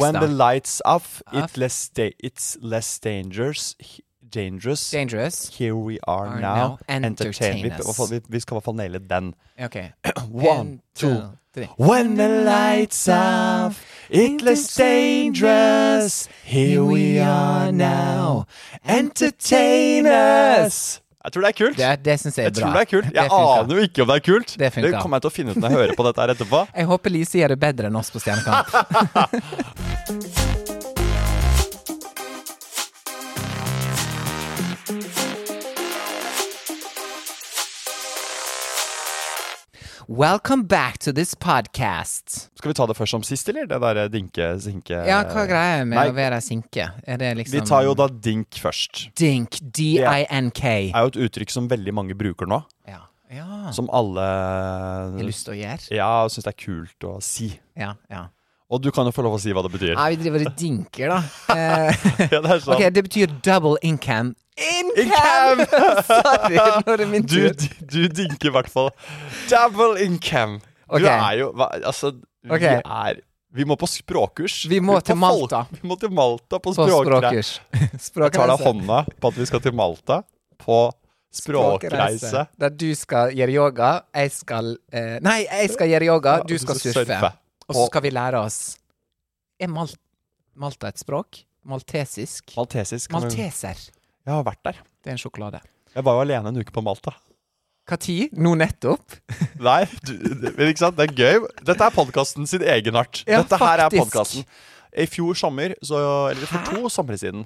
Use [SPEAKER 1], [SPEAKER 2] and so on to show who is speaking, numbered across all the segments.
[SPEAKER 1] When the
[SPEAKER 2] Stop.
[SPEAKER 1] lights off,
[SPEAKER 2] Off.
[SPEAKER 1] It less da- it's less dangerous. he- Dangerous.
[SPEAKER 2] Dangerous.
[SPEAKER 1] Here we are,
[SPEAKER 2] Are
[SPEAKER 1] now.
[SPEAKER 2] now. Entertain
[SPEAKER 1] Vi, i hvert fall- vi, vi skal i hvert fall naile den.
[SPEAKER 2] Ok.
[SPEAKER 1] One,
[SPEAKER 2] En,
[SPEAKER 1] two,
[SPEAKER 2] three.
[SPEAKER 1] When the lights off, it less dangerous. Here we are now. Entertain us. Jeg tror det er kult.
[SPEAKER 2] Det, er- det syns jeg er
[SPEAKER 1] jeg
[SPEAKER 2] bra.
[SPEAKER 1] tror det er kult. Jeg
[SPEAKER 2] funka.
[SPEAKER 1] aner jo ikke om det er kult.
[SPEAKER 2] Det funka.
[SPEAKER 1] kommer jeg til å finne ut når jeg hører på dette her etterpå.
[SPEAKER 2] Jeg håper Lise gjør det bedre enn oss på Stjernekamp. Welcome back to this podcast.
[SPEAKER 1] Skal vi ta det først som sist, eller? Det derre dinke, sinke
[SPEAKER 2] Ja, hva er greia med
[SPEAKER 1] Nei.
[SPEAKER 2] å være sinke? Er det liksom
[SPEAKER 1] Vi tar jo da dink først.
[SPEAKER 2] Dink. D-i-n-k.
[SPEAKER 1] Det er jo et uttrykk som veldig mange bruker nå.
[SPEAKER 2] Ja. ja.
[SPEAKER 1] Som alle
[SPEAKER 2] Ah. Har lyst til å gjøre?
[SPEAKER 1] ja, syns det er kult å si.
[SPEAKER 2] Ja. ja.
[SPEAKER 1] Og du kan jo få lov å si hva det betyr.
[SPEAKER 2] Nei, vi driver og dinker, da. Eh,
[SPEAKER 1] Ja, det er sånn.
[SPEAKER 2] ok, det betyr double income.
[SPEAKER 1] Income!
[SPEAKER 2] Income! Sorry, nå er det min
[SPEAKER 1] Du,
[SPEAKER 2] tur.
[SPEAKER 1] du dinker i hvert fall. Double income.
[SPEAKER 2] Ok.
[SPEAKER 1] Du er jo hva, Altså,
[SPEAKER 2] Ok.
[SPEAKER 1] vi er Vi må på språkkurs.
[SPEAKER 2] Vi må til
[SPEAKER 1] på
[SPEAKER 2] Malta.
[SPEAKER 1] folk- Vi må til Malta på
[SPEAKER 2] På
[SPEAKER 1] språkreise.
[SPEAKER 2] språkkurs.
[SPEAKER 1] Jeg tar deg
[SPEAKER 2] Språkreise.
[SPEAKER 1] hånda på at vi skal til Malta på språkreise.
[SPEAKER 2] Språkreise. Der du skal gjøre yoga, jeg skal eh, Nei, jeg skal gjøre yoga,
[SPEAKER 1] Ja,
[SPEAKER 2] du skal surfe. Og så
[SPEAKER 1] På
[SPEAKER 2] skal vi lære oss Er Mal Malta et språk? Maltesisk?
[SPEAKER 1] maltesisk. kan du-
[SPEAKER 2] Malteser.
[SPEAKER 1] Jeg har vært der.
[SPEAKER 2] Det er en sjokolade.
[SPEAKER 1] Jeg var jo alene en uke på Malta.
[SPEAKER 2] Hva tid? Nå nettopp?
[SPEAKER 1] Nei, du, det- men ikke sant? Det er gøy. Dette er podkasten sin egenart.
[SPEAKER 2] Ja,
[SPEAKER 1] Dette her er
[SPEAKER 2] faktisk.
[SPEAKER 1] podkasten. I fjor sommer, så, eller for to somre siden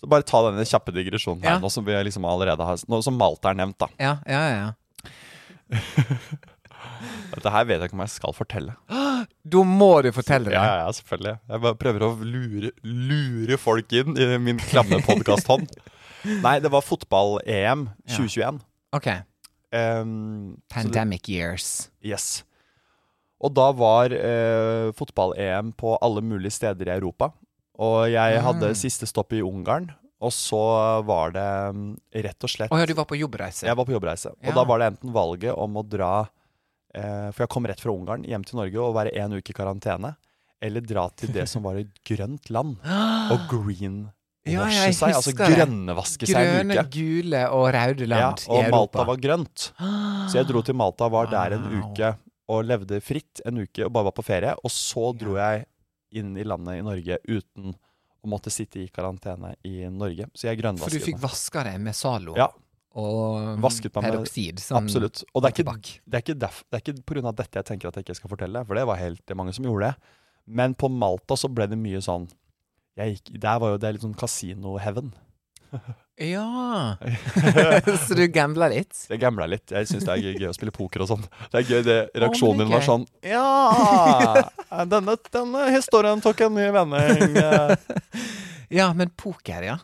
[SPEAKER 1] Så bare ta denne kjappe digresjonen her
[SPEAKER 2] Ja.
[SPEAKER 1] nå som vi liksom allerede har Nå som Malta er nevnt, da.
[SPEAKER 2] Ja, ja, ja.
[SPEAKER 1] Dette her vet jeg ikke om jeg skal fortelle.
[SPEAKER 2] Da må du fortelle det.
[SPEAKER 1] Ja, ja, ja, selvfølgelig. Jeg bare prøver å lure, lure folk inn i min klamme podkasthånd. Nei, det var fotball-EM 2021.
[SPEAKER 2] OK.
[SPEAKER 1] Um, så det-
[SPEAKER 2] Pandemic years.
[SPEAKER 1] Yes. Og da var eh, fotball-EM på alle mulige steder i Europa. Og jeg
[SPEAKER 2] Ah.
[SPEAKER 1] hadde siste stopp i Ungarn, og så var det mm, rett og slett
[SPEAKER 2] Å ja, du var på jobbreise?
[SPEAKER 1] Jeg var på jobbreise, og
[SPEAKER 2] Ja.
[SPEAKER 1] da var det enten valget om å dra eh, For jeg kom rett fra Ungarn hjem til Norge og være en uke i karantene. Eller dra til det som var et grønt land, og greenwashe
[SPEAKER 2] Ja, jeg
[SPEAKER 1] seg. Altså
[SPEAKER 2] husker det.
[SPEAKER 1] grønnevaske seg en
[SPEAKER 2] Grønne,
[SPEAKER 1] uke.
[SPEAKER 2] gule og røde land
[SPEAKER 1] Ja, og
[SPEAKER 2] i Europa.
[SPEAKER 1] Malta var grønt. Så jeg dro til Malta, var der en
[SPEAKER 2] Ah, Wow.
[SPEAKER 1] uke og levde fritt en uke og bare var på ferie. Og så dro jeg inn i landet i Norge uten å måtte sitte i karantene i Norge. Så jeg
[SPEAKER 2] For du fikk
[SPEAKER 1] grønnvasket meg.
[SPEAKER 2] vaska deg med Zalo
[SPEAKER 1] Ja,
[SPEAKER 2] og
[SPEAKER 1] Vasket meg med-
[SPEAKER 2] peroksid. sånn-
[SPEAKER 1] absolutt. Og det er ikke,
[SPEAKER 2] tobakk.
[SPEAKER 1] det er ikke, derf, det er ikke på grunn av dette jeg tenker at jeg ikke skal fortelle, for det var helt det er mange som gjorde det. Men på Malta så ble det mye sånn jeg gikk, Der var jo det litt sånn kasino-heaven.
[SPEAKER 2] Ja! så du gambla litt?
[SPEAKER 1] Jeg gambla litt. Jeg syns det er gøy- gøy å spille poker og sånn. Det er gøy det reaksjonen
[SPEAKER 2] men
[SPEAKER 1] din var
[SPEAKER 2] gøy.
[SPEAKER 1] sånn Ja! Denne, denne historien tok en ny vending. Ja,
[SPEAKER 2] Ja, men poker, ja.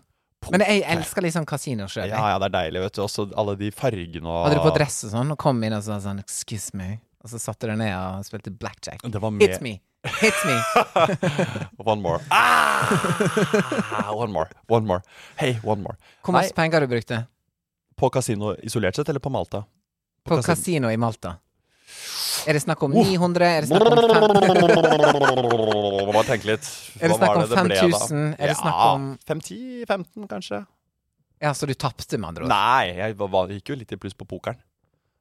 [SPEAKER 2] Men jeg elsker liksom kasino sjøl.
[SPEAKER 1] ja, det er deilig, vet du. Også alle de fargene og
[SPEAKER 2] Hadde du på dress og sånn, og kom inn og sa sånn 'excuse me', og så satte du deg ned og spilte blackjack.
[SPEAKER 1] Det var med
[SPEAKER 2] Hit me! Hit me!
[SPEAKER 1] One more. Ah! One more. One more. Hei, one more.
[SPEAKER 2] Hvor
[SPEAKER 1] Nei,
[SPEAKER 2] mye penger du brukte?
[SPEAKER 1] på kasino isolert sett, eller på Oh. Malta?
[SPEAKER 2] På
[SPEAKER 1] kasin-
[SPEAKER 2] kasino i Malta? Er det snakk om 900? Er det snakk om 500?
[SPEAKER 1] Må bare tenke litt.
[SPEAKER 2] Er
[SPEAKER 1] Hva
[SPEAKER 2] det
[SPEAKER 1] var
[SPEAKER 2] snakk om
[SPEAKER 1] det det ble, da?
[SPEAKER 2] 5000? Er det snakk om-
[SPEAKER 1] Ja, 5-10-15, kanskje.
[SPEAKER 2] Ja, så du tapte, med andre ord?
[SPEAKER 1] Nei, jeg var- var, gikk jo litt i pluss på pokeren.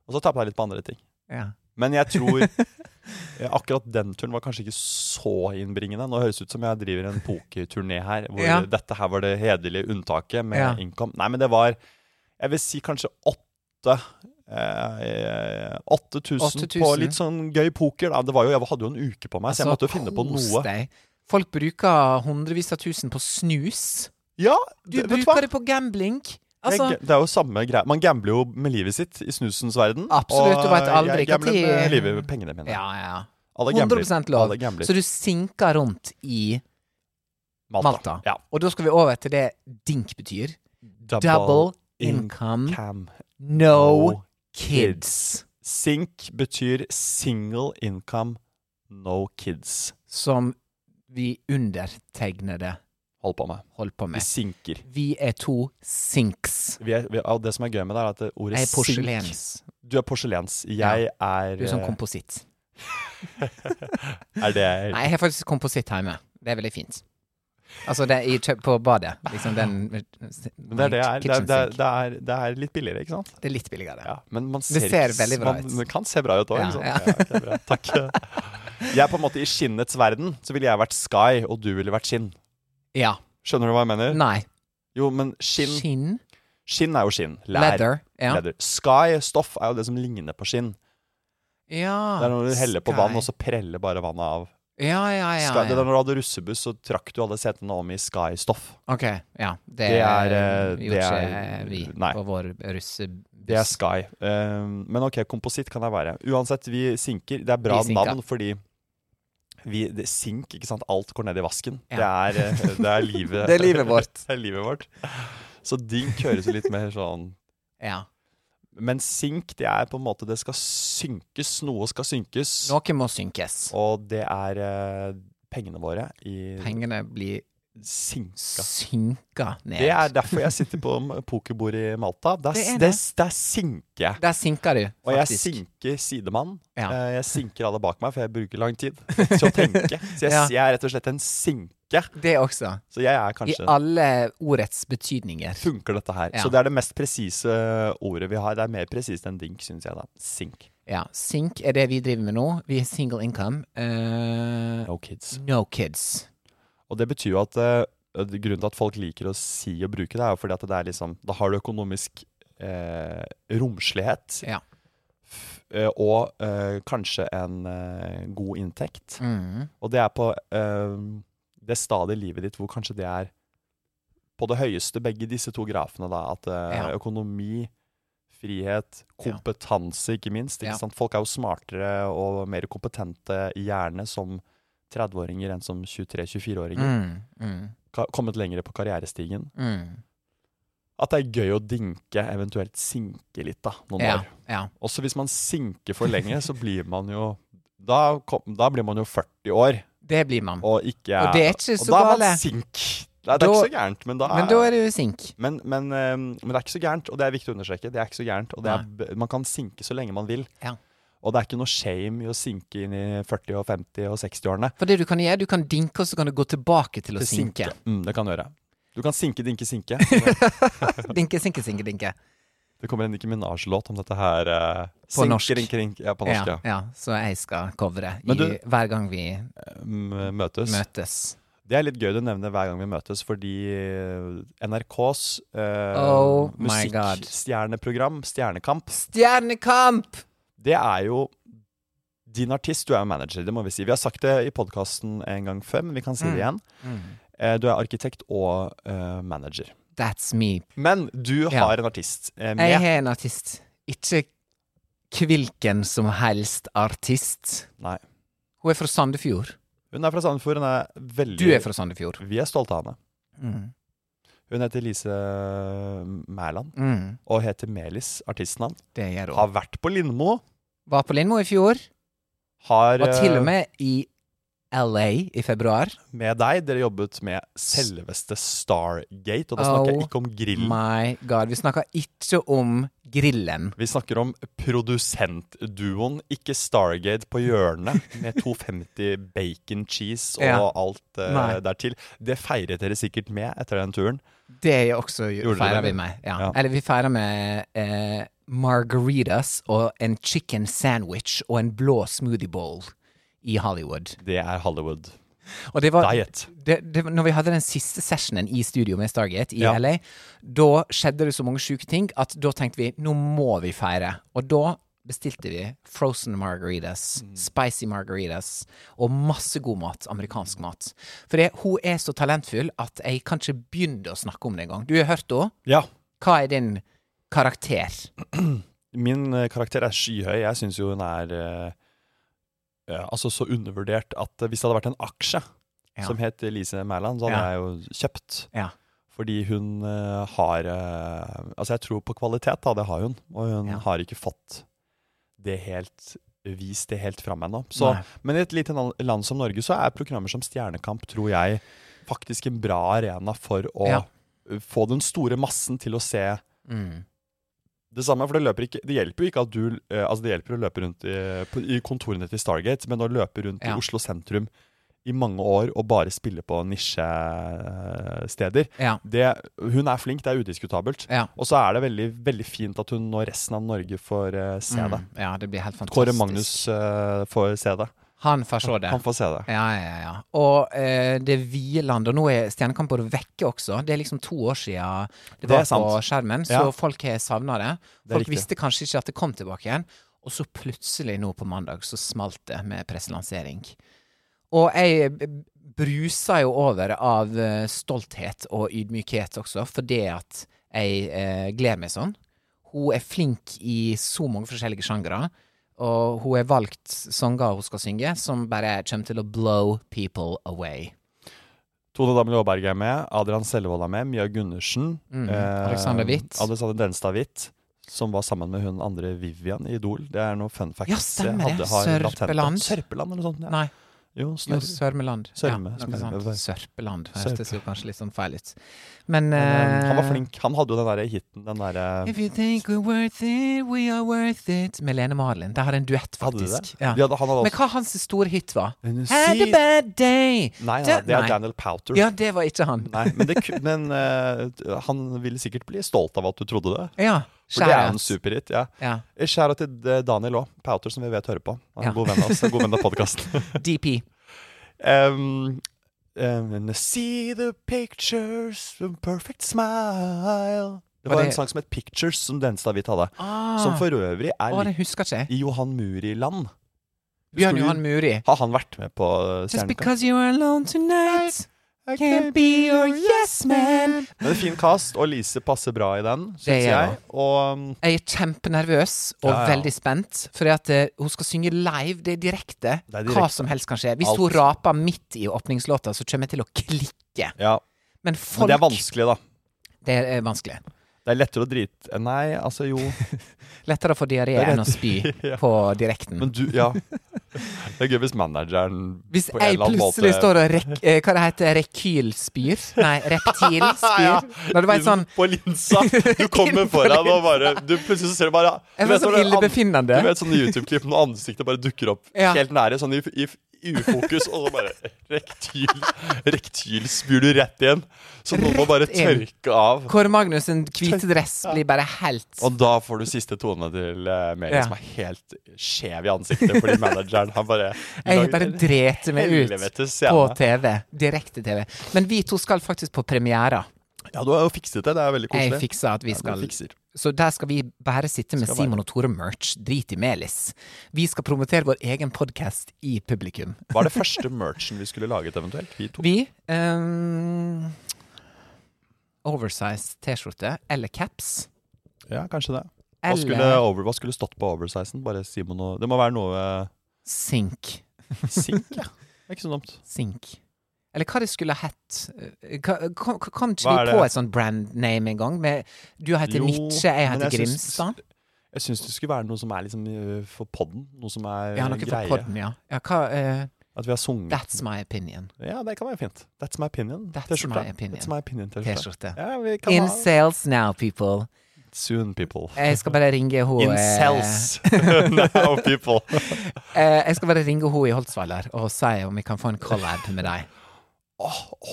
[SPEAKER 1] Og så tapte jeg litt på andre ting.
[SPEAKER 2] Ja.
[SPEAKER 1] Men jeg tror eh, akkurat den turen var kanskje ikke så innbringende. Nå høres det ut som jeg driver en pokerturné her, hvor
[SPEAKER 2] Ja.
[SPEAKER 1] dette her var det hederlige unntaket med
[SPEAKER 2] Ja.
[SPEAKER 1] income. Nei, men det var Jeg vil si kanskje åtte. Eh, 8000 på
[SPEAKER 2] 8000.
[SPEAKER 1] litt sånn gøy poker. Da. Det var jo, jeg hadde jo en uke på meg, så Altså, jeg måtte jo finne på
[SPEAKER 2] Altså, kos
[SPEAKER 1] noe.
[SPEAKER 2] Deg. Folk bruker hundrevis av tusen på snus.
[SPEAKER 1] Ja,
[SPEAKER 2] Du
[SPEAKER 1] det, vet du hva?
[SPEAKER 2] bruker det på gambling.
[SPEAKER 1] Jeg
[SPEAKER 2] Altså,
[SPEAKER 1] ga- det er jo samme greie. Man gambler jo med livet sitt i snusens verden.
[SPEAKER 2] Absolutt,
[SPEAKER 1] og
[SPEAKER 2] du vet aldri
[SPEAKER 1] jeg gambler
[SPEAKER 2] hva tid-
[SPEAKER 1] med livet med pengene mine.
[SPEAKER 2] ja, ja.
[SPEAKER 1] Alle gambler.
[SPEAKER 2] 100 lov.
[SPEAKER 1] Alle gambler.
[SPEAKER 2] Så du sinker rundt i
[SPEAKER 1] Malta.
[SPEAKER 2] Malta.
[SPEAKER 1] Ja.
[SPEAKER 2] Og da skal vi over til det dink betyr. Double, income,
[SPEAKER 1] Cam.
[SPEAKER 2] no
[SPEAKER 1] no
[SPEAKER 2] kids.
[SPEAKER 1] Sink betyr single income, no kids.
[SPEAKER 2] Som vi undertegnede
[SPEAKER 1] Hold på med.
[SPEAKER 2] holder
[SPEAKER 1] Vi
[SPEAKER 2] på med.
[SPEAKER 1] sinker.
[SPEAKER 2] Vi er to sinks.
[SPEAKER 1] Vi er, vi, og det som er gøy med det, er at det- ordet
[SPEAKER 2] Jeg er
[SPEAKER 1] sink
[SPEAKER 2] porselens.
[SPEAKER 1] Du er porselens. Jeg er
[SPEAKER 2] Du er sånn kompositt.
[SPEAKER 1] eh, Er det
[SPEAKER 2] Nei, jeg har faktisk kompositt hjemme. Det er veldig fint. Altså, det er i, kjø- på badet. Liksom den
[SPEAKER 1] Men det er det jeg er. Det er,
[SPEAKER 2] kitchen
[SPEAKER 1] det, er,
[SPEAKER 2] sink.
[SPEAKER 1] det, er, det er litt billigere, ikke sant?
[SPEAKER 2] Det er litt billigere.
[SPEAKER 1] Ja, men man ser,
[SPEAKER 2] Det ser
[SPEAKER 1] ikke-
[SPEAKER 2] veldig bra ut.
[SPEAKER 1] Man kan se bra ut òg,
[SPEAKER 2] Ja,
[SPEAKER 1] ikke sant?
[SPEAKER 2] ja.
[SPEAKER 1] Ja. ok, bra. Takk. Jeg er på en måte i skinnets verden. Så ville jeg vært Sky, og du ville vært skinn.
[SPEAKER 2] Ja.
[SPEAKER 1] Skjønner du hva jeg mener?
[SPEAKER 2] Nei.
[SPEAKER 1] Jo, men skinn
[SPEAKER 2] Skinn.
[SPEAKER 1] Skinn er jo skinn. Lær.
[SPEAKER 2] Leather. Ja.
[SPEAKER 1] Leather. Sky, stoff, er jo det som ligner på skinn.
[SPEAKER 2] ja.
[SPEAKER 1] Det er når du heller på
[SPEAKER 2] Ah, sky.
[SPEAKER 1] vann, og så preller bare vannet av.
[SPEAKER 2] Ja, ja, ja.
[SPEAKER 1] Sky, Det
[SPEAKER 2] ja.
[SPEAKER 1] er når du hadde russebuss, så trakk du alle setene om i Sky-stoff.
[SPEAKER 2] Ok, ja. Det,
[SPEAKER 1] Det er, eh,
[SPEAKER 2] gjorde
[SPEAKER 1] det er-
[SPEAKER 2] ikke vi
[SPEAKER 1] nei.
[SPEAKER 2] på vår russe...
[SPEAKER 1] Det er Sky. Ehm, men ok, kompositt kan jeg være. Uansett, vi sinker. Det er bra
[SPEAKER 2] Vi sinker.
[SPEAKER 1] navn fordi vi, det, Sink, ikke sant. Alt går ned i vasken.
[SPEAKER 2] Ja.
[SPEAKER 1] Det, er, eh, det er livet
[SPEAKER 2] Det er livet vårt.
[SPEAKER 1] det er livet vårt. Så dink høres jo litt mer sånn
[SPEAKER 2] Ja.
[SPEAKER 1] Men sink, det er på en måte Det skal synkes. Noe skal synkes.
[SPEAKER 2] Noe må synkes.
[SPEAKER 1] Og det er eh, pengene våre i
[SPEAKER 2] Pengene blir
[SPEAKER 1] sinka.
[SPEAKER 2] synka ned.
[SPEAKER 1] Det er derfor jeg sitter på m- pokerbordet i Malta. Der,
[SPEAKER 2] Det er
[SPEAKER 1] s-
[SPEAKER 2] det.
[SPEAKER 1] der, s- der sinker jeg.
[SPEAKER 2] Der sinker du,
[SPEAKER 1] Og jeg
[SPEAKER 2] faktisk.
[SPEAKER 1] sinker sidemann.
[SPEAKER 2] Ja.
[SPEAKER 1] Eh, Jeg sinker alle bak meg, for jeg bruker lang tid til å tenke. Så jeg,
[SPEAKER 2] Ja.
[SPEAKER 1] jeg er rett og slett en sinke.
[SPEAKER 2] Det også.
[SPEAKER 1] Så jeg er
[SPEAKER 2] I
[SPEAKER 1] kanskje
[SPEAKER 2] alle ordets betydninger.
[SPEAKER 1] Funker dette her?
[SPEAKER 2] Ja.
[SPEAKER 1] Så det er det mest presise ordet vi har. Det er mer presist enn dink, syns jeg, da. Sink.
[SPEAKER 2] Ja, Sink er det vi driver med nå. Vi er single income. Eh,
[SPEAKER 1] No kids.
[SPEAKER 2] no kids.
[SPEAKER 1] Og det betyr jo at eh, grunnen til at folk liker å si og bruke det, er jo fordi at det er liksom Da har du økonomisk eh, romslighet.
[SPEAKER 2] Ja.
[SPEAKER 1] F- eh, og eh, kanskje en eh, god inntekt.
[SPEAKER 2] Mm.
[SPEAKER 1] Og det er på eh, det stadiet i livet ditt hvor kanskje det er på det høyeste begge disse to grafene, da. At eh,
[SPEAKER 2] Ja.
[SPEAKER 1] økonomi, frihet, kompetanse, ikke minst. Ikke
[SPEAKER 2] Ja.
[SPEAKER 1] sant? Folk er jo smartere og mer kompetente i hjerne som 30-åringer enn som 23-24-åringer.
[SPEAKER 2] Mm. Mm.
[SPEAKER 1] Ka- Kommet lenger på karrierestigen.
[SPEAKER 2] Mm.
[SPEAKER 1] At det er gøy å dinke, eventuelt sinke litt, da, noen
[SPEAKER 2] Ja,
[SPEAKER 1] år.
[SPEAKER 2] ja.
[SPEAKER 1] Også hvis man sinker for lenge, så blir man jo da, kom, da blir man jo 40 år,
[SPEAKER 2] Det blir man.
[SPEAKER 1] og ikke
[SPEAKER 2] Og det er ikke så
[SPEAKER 1] Og da er
[SPEAKER 2] gale.
[SPEAKER 1] man sink. Nei, det er
[SPEAKER 2] Da-
[SPEAKER 1] ikke så gærent, men da er,
[SPEAKER 2] Men da er du sink.
[SPEAKER 1] men, men, eh, men det er ikke så gærent, og det er viktig å understreke. Det er ikke så gærent, og det er, b- Man kan sinke så lenge man vil.
[SPEAKER 2] Ja.
[SPEAKER 1] Og det er ikke noe shame i å sinke inn i 40- og 50- og 60-årene.
[SPEAKER 2] For det du kan gjøre, du kan dinke, og så kan du gå tilbake til å
[SPEAKER 1] Til
[SPEAKER 2] sinke.
[SPEAKER 1] Mm, det kan du gjøre. Du kan sinke, dinke, sinke.
[SPEAKER 2] Dinke, sinke, sinke, dinke.
[SPEAKER 1] Det kommer en Nicki Minaj-låt om dette her. eh,
[SPEAKER 2] På
[SPEAKER 1] sinke,
[SPEAKER 2] norsk.
[SPEAKER 1] Rinke, rinke, ja, på norsk,
[SPEAKER 2] Ja,
[SPEAKER 1] ja.
[SPEAKER 2] ja, så jeg skal covre i,
[SPEAKER 1] Men du-
[SPEAKER 2] hver gang vi
[SPEAKER 1] M- Møtes.
[SPEAKER 2] møtes.
[SPEAKER 1] Det er litt gøy du nevner hver gang vi møtes, fordi eh, NRKs eh,
[SPEAKER 2] Oh my God.
[SPEAKER 1] musikkstjerneprogram, Stjernekamp,
[SPEAKER 2] Stjernekamp!
[SPEAKER 1] det er jo din artist, du er jo manager, det må vi si. Vi har sagt det i podkasten en gang før, men vi kan si
[SPEAKER 2] Mm.
[SPEAKER 1] det igjen. Eh, Du er arkitekt og eh, manager.
[SPEAKER 2] That's me.
[SPEAKER 1] Men du
[SPEAKER 2] Ja.
[SPEAKER 1] har en artist eh,
[SPEAKER 2] Jeg
[SPEAKER 1] med.
[SPEAKER 2] har en artist. Ikke hvilken som helst artist.
[SPEAKER 1] Nei.
[SPEAKER 2] Hun er fra Sandefjord.
[SPEAKER 1] Hun er fra Sandefjord. Hun er veldig
[SPEAKER 2] Du er fra Sandefjord.
[SPEAKER 1] Vi er stolte av henne.
[SPEAKER 2] Mm.
[SPEAKER 1] Hun heter Lise eh, Mæland
[SPEAKER 2] Mm.
[SPEAKER 1] og heter Melis, artistnavn.
[SPEAKER 2] Det gjør hun.
[SPEAKER 1] Har vært på Lindmo.
[SPEAKER 2] Var på Lindmo i fjor.
[SPEAKER 1] Har
[SPEAKER 2] Var til
[SPEAKER 1] eh,
[SPEAKER 2] og med i LA i februar.
[SPEAKER 1] med deg. Dere jobbet med selveste Stargate, og da snakker
[SPEAKER 2] Oh
[SPEAKER 1] jeg ikke om grillen.
[SPEAKER 2] My God. Vi snakker ikke om grillen.
[SPEAKER 1] Vi snakker om produsentduoen, ikke Stargate på hjørnet, med 250 bacon cheese og
[SPEAKER 2] Ja.
[SPEAKER 1] alt uh,
[SPEAKER 2] Nei.
[SPEAKER 1] dertil. Det feiret dere sikkert med etter den turen.
[SPEAKER 2] Det er jo også
[SPEAKER 1] Gjorde du
[SPEAKER 2] feirer
[SPEAKER 1] det,
[SPEAKER 2] vi
[SPEAKER 1] eller?
[SPEAKER 2] med. Ja.
[SPEAKER 1] Ja.
[SPEAKER 2] Eller vi feirer med eh, margaritas og en chicken sandwich og en blå smoothie bowl i Hollywood.
[SPEAKER 1] Det er Hollywood.
[SPEAKER 2] Og det var
[SPEAKER 1] Diet.
[SPEAKER 2] det, det, var- Når vi hadde den siste sessionen i studio med Stargate i
[SPEAKER 1] Ja.
[SPEAKER 2] LA, da skjedde det så mange sjuke ting at da tenkte vi nå må vi feire. Og da bestilte vi frozen margaritas,
[SPEAKER 1] Mm.
[SPEAKER 2] spicy margaritas og masse god mat, amerikansk mat. For det, hun er så talentfull at jeg kan ikke begynne å snakke om det engang. Du har hørt henne?
[SPEAKER 1] Ja.
[SPEAKER 2] Hva er din karakter?
[SPEAKER 1] Min eh, karakter er skyhøy. Jeg syns jo hun er eh, eh, altså så undervurdert at eh, hvis det hadde vært en aksje
[SPEAKER 2] Ja.
[SPEAKER 1] som het Elise Mæland, så hadde
[SPEAKER 2] Ja.
[SPEAKER 1] jeg jo kjøpt.
[SPEAKER 2] Ja.
[SPEAKER 1] Fordi hun eh, har eh, Altså, jeg tror på kvalitet, da. Det har hun. Og hun
[SPEAKER 2] Ja.
[SPEAKER 1] har ikke fått det helt vist det helt fram ennå. Så-
[SPEAKER 2] Nei.
[SPEAKER 1] Men i et lite na- land som Norge så er programmer som Stjernekamp, tror jeg, faktisk en bra arena for å
[SPEAKER 2] Ja.
[SPEAKER 1] eh, få den store massen til å se
[SPEAKER 2] Mm.
[SPEAKER 1] det samme, for det, løper ikke, det hjelper jo ikke at du eh, Altså, det hjelper å løpe rundt i, på, i kontorene til Stargate, men å løpe rundt
[SPEAKER 2] Ja.
[SPEAKER 1] i Oslo sentrum i mange år og bare spille på nisjesteder
[SPEAKER 2] Ja.
[SPEAKER 1] det, Hun er flink, det er udiskutabelt.
[SPEAKER 2] Ja.
[SPEAKER 1] Og så er det veldig, veldig fint at hun og resten av Norge får eh, se det.
[SPEAKER 2] Mm. ja, det blir helt fantastisk.
[SPEAKER 1] Kåre Magnus eh, får se det.
[SPEAKER 2] Han får se det.
[SPEAKER 1] Han får se det.
[SPEAKER 2] Ja, ja, ja. Og eh, det er Hviland, og nå er Stjernekamp både vekke også. Det er liksom to år siden
[SPEAKER 1] Det
[SPEAKER 2] det
[SPEAKER 1] er
[SPEAKER 2] var på
[SPEAKER 1] sant.
[SPEAKER 2] skjermen, så
[SPEAKER 1] Ja.
[SPEAKER 2] folk har savna det.
[SPEAKER 1] Det er
[SPEAKER 2] Folk
[SPEAKER 1] riktig.
[SPEAKER 2] visste kanskje ikke at det kom tilbake igjen. Og så plutselig nå på mandag så smalt det med presselansering. Og jeg eh, b- brusa jo over av eh, stolthet og ydmykhet også, fordi at jeg eh, gleder meg sånn. Hun er flink i så mange forskjellige sjangere. Og hun har valgt sanger hun skal synge, som bare kommer til å blow people away.
[SPEAKER 1] Tone Damli Aaberg er med, Adrian Selvold er med, Mia Gundersen.
[SPEAKER 2] Mm.
[SPEAKER 1] Eh,
[SPEAKER 2] Alexander Witt.
[SPEAKER 1] Alexander Denstad Witt, som var sammen med hun andre Vivian i Idol. Det er noen fun facts.
[SPEAKER 2] Ja, stemmer
[SPEAKER 1] jeg
[SPEAKER 2] det.
[SPEAKER 1] har latent om.
[SPEAKER 2] Sørpeland.
[SPEAKER 1] Sørpeland eller noe sånt. Ja.
[SPEAKER 2] Nei,
[SPEAKER 1] Jo,
[SPEAKER 2] jo,
[SPEAKER 1] snør.
[SPEAKER 2] Sørmeland.
[SPEAKER 1] Sørme,
[SPEAKER 2] ja, noe sånt.
[SPEAKER 1] Sørme.
[SPEAKER 2] Sørpeland
[SPEAKER 1] Sørpe.
[SPEAKER 2] hørtes jo kanskje litt sånn feil ut. Men
[SPEAKER 1] Men, eh, Han var
[SPEAKER 2] eh,
[SPEAKER 1] flink. Han hadde jo den derre hiten, den derre
[SPEAKER 2] If you think we're worth it, we are worth it. Med Lene Marlin. De hadde en duett,
[SPEAKER 1] Hadde de det? altså.
[SPEAKER 2] faktisk. Ja.
[SPEAKER 1] De hadde- han hadde
[SPEAKER 2] Men
[SPEAKER 1] også-
[SPEAKER 2] hva hans store hit var?
[SPEAKER 1] And you
[SPEAKER 2] Had
[SPEAKER 1] see-
[SPEAKER 2] a bad day.
[SPEAKER 1] Nei, nei,
[SPEAKER 2] Det-
[SPEAKER 1] det er
[SPEAKER 2] nei.
[SPEAKER 1] Daniel Powter.
[SPEAKER 2] Ja, det var ikke han.
[SPEAKER 1] Nei, men det, ku- men eh, han ville sikkert bli stolt av at du trodde det.
[SPEAKER 2] Ja.
[SPEAKER 1] For det er jo
[SPEAKER 2] shout-out.
[SPEAKER 1] en superhit. ja.
[SPEAKER 2] Ja.
[SPEAKER 1] Skjæra til eh, Daniel òg, Powter, som vi vet hører på. Han er
[SPEAKER 2] Ja.
[SPEAKER 1] en god venn av oss. en God venn av podkasten.
[SPEAKER 2] DP.
[SPEAKER 1] Um, um, and I see the pictures of perfect smile Det
[SPEAKER 2] Var
[SPEAKER 1] var en
[SPEAKER 2] det-
[SPEAKER 1] sang som het Pictures, som Denstad Witt hadde.
[SPEAKER 2] Ah,
[SPEAKER 1] Som for øvrig er
[SPEAKER 2] å, det
[SPEAKER 1] litt
[SPEAKER 2] husker ikke jeg.
[SPEAKER 1] i Johan Muri-land.
[SPEAKER 2] Bjørn
[SPEAKER 1] Skulle-
[SPEAKER 2] Johan Muri.
[SPEAKER 1] Har han vært med på
[SPEAKER 2] Just
[SPEAKER 1] Stjernekamp?
[SPEAKER 2] because you're alone tonight can't be your yes man.
[SPEAKER 1] Men det er fin cast, og Lise passer bra i den, syns
[SPEAKER 2] gjør
[SPEAKER 1] jeg.
[SPEAKER 2] hun.
[SPEAKER 1] Og um,
[SPEAKER 2] Jeg er kjempenervøs og
[SPEAKER 1] Ja, ja.
[SPEAKER 2] veldig spent, fordi at eh, hun skal synge live. Det er direkte.
[SPEAKER 1] Det er direkte.
[SPEAKER 2] Hva som helst kan skje. Hvis
[SPEAKER 1] Alt.
[SPEAKER 2] hun raper midt i åpningslåta, så kommer jeg til å klikke.
[SPEAKER 1] ja.
[SPEAKER 2] Men
[SPEAKER 1] Men
[SPEAKER 2] folk
[SPEAKER 1] det er vanskelig, da.
[SPEAKER 2] Det er vanskelig.
[SPEAKER 1] Det er lettere å drite Nei, altså jo
[SPEAKER 2] Lettere å få
[SPEAKER 1] Det
[SPEAKER 2] diaré
[SPEAKER 1] er
[SPEAKER 2] enn å spy
[SPEAKER 1] Ja.
[SPEAKER 2] på direkten.
[SPEAKER 1] Men du Ja. Det er gøy hvis manageren
[SPEAKER 2] Hvis
[SPEAKER 1] på en
[SPEAKER 2] jeg
[SPEAKER 1] eller annen måte-
[SPEAKER 2] plutselig står og rek... Eh, hva det heter Rekylspyr? Nei, reptilspyr?
[SPEAKER 1] Ja,
[SPEAKER 2] Når det var en sånn
[SPEAKER 1] På linsa. Du kommer
[SPEAKER 2] Inn på
[SPEAKER 1] foran og bare
[SPEAKER 2] linsa.
[SPEAKER 1] du Plutselig så ser du bare
[SPEAKER 2] Jeg
[SPEAKER 1] du
[SPEAKER 2] får
[SPEAKER 1] vet
[SPEAKER 2] sånn
[SPEAKER 1] når det er an-
[SPEAKER 2] illebefinnende.
[SPEAKER 1] Du vet sånne YouTube-klipp når ansiktet bare dukker opp
[SPEAKER 2] Ja.
[SPEAKER 1] helt nære, sånn i, i i ufokus, og så bare rektyl Rektyl spyr du rett igjen. Så noen må bare
[SPEAKER 2] Rett inn.
[SPEAKER 1] tørke av.
[SPEAKER 2] Kåre Magnussen, hvite dress, blir bare helt
[SPEAKER 1] Og da får du siste tone til uh, Mary,
[SPEAKER 2] Ja.
[SPEAKER 1] som er helt skjev i ansiktet fordi manageren har bare
[SPEAKER 2] Jeg bare dreter meg ut
[SPEAKER 1] Helvetes scene.
[SPEAKER 2] på TV. Direkte-TV. Men vi to skal faktisk på premiere.
[SPEAKER 1] Ja, du har jo fikset det. Det er veldig
[SPEAKER 2] Jeg
[SPEAKER 1] koselig.
[SPEAKER 2] fikser at vi skal
[SPEAKER 1] du fikser.
[SPEAKER 2] Så der skal vi bare sitte med
[SPEAKER 1] Skal
[SPEAKER 2] Simon og Tore-merch. Drit i Melis. Vi skal promotere vår egen podkast i publikum.
[SPEAKER 1] Hva er det første merchen vi skulle laget, eventuelt? Vi to?
[SPEAKER 2] Vi ehm, Oversized T-skjorte eller caps.
[SPEAKER 1] Ja, kanskje det. Hva
[SPEAKER 2] Eller-
[SPEAKER 1] skulle, over, hva skulle stått på oversizen? Bare Simon og Det må være noe eh,
[SPEAKER 2] Sink.
[SPEAKER 1] sink, ja. Det er ikke så dumt.
[SPEAKER 2] Sink. Eller hva det skulle hett. Eh, hva- Kom, kom ikke
[SPEAKER 1] Hva er
[SPEAKER 2] vi på
[SPEAKER 1] det?
[SPEAKER 2] et sånt brand name en gang? Med, du heter
[SPEAKER 1] Jo,
[SPEAKER 2] Mitche, jeg
[SPEAKER 1] men
[SPEAKER 2] heter
[SPEAKER 1] jeg syns-
[SPEAKER 2] Grimstad.
[SPEAKER 1] Jeg syns det skulle være noe som er liksom øh, for podden. Noe som er
[SPEAKER 2] Ja,
[SPEAKER 1] øh,
[SPEAKER 2] noe fra
[SPEAKER 1] greie.
[SPEAKER 2] podden, ja. ja hva, eh,
[SPEAKER 1] At vi har sunget.
[SPEAKER 2] that's my opinion.
[SPEAKER 1] Ja, det kan være fint. That's my opinion.
[SPEAKER 2] That's
[SPEAKER 1] T-skjorte.
[SPEAKER 2] my opinion.
[SPEAKER 1] That's my opinion T-skjorte.
[SPEAKER 2] T-skjorte.
[SPEAKER 1] Ja, vi kan
[SPEAKER 2] In
[SPEAKER 1] ha
[SPEAKER 2] sales now, people.
[SPEAKER 1] Soon, people.
[SPEAKER 2] Jeg skal bare ringe hun
[SPEAKER 1] In
[SPEAKER 2] eh,
[SPEAKER 1] cells now, people.
[SPEAKER 2] Eh, jeg skal bare ringe henne i Holtsveiler og si om vi kan få en collab med deg.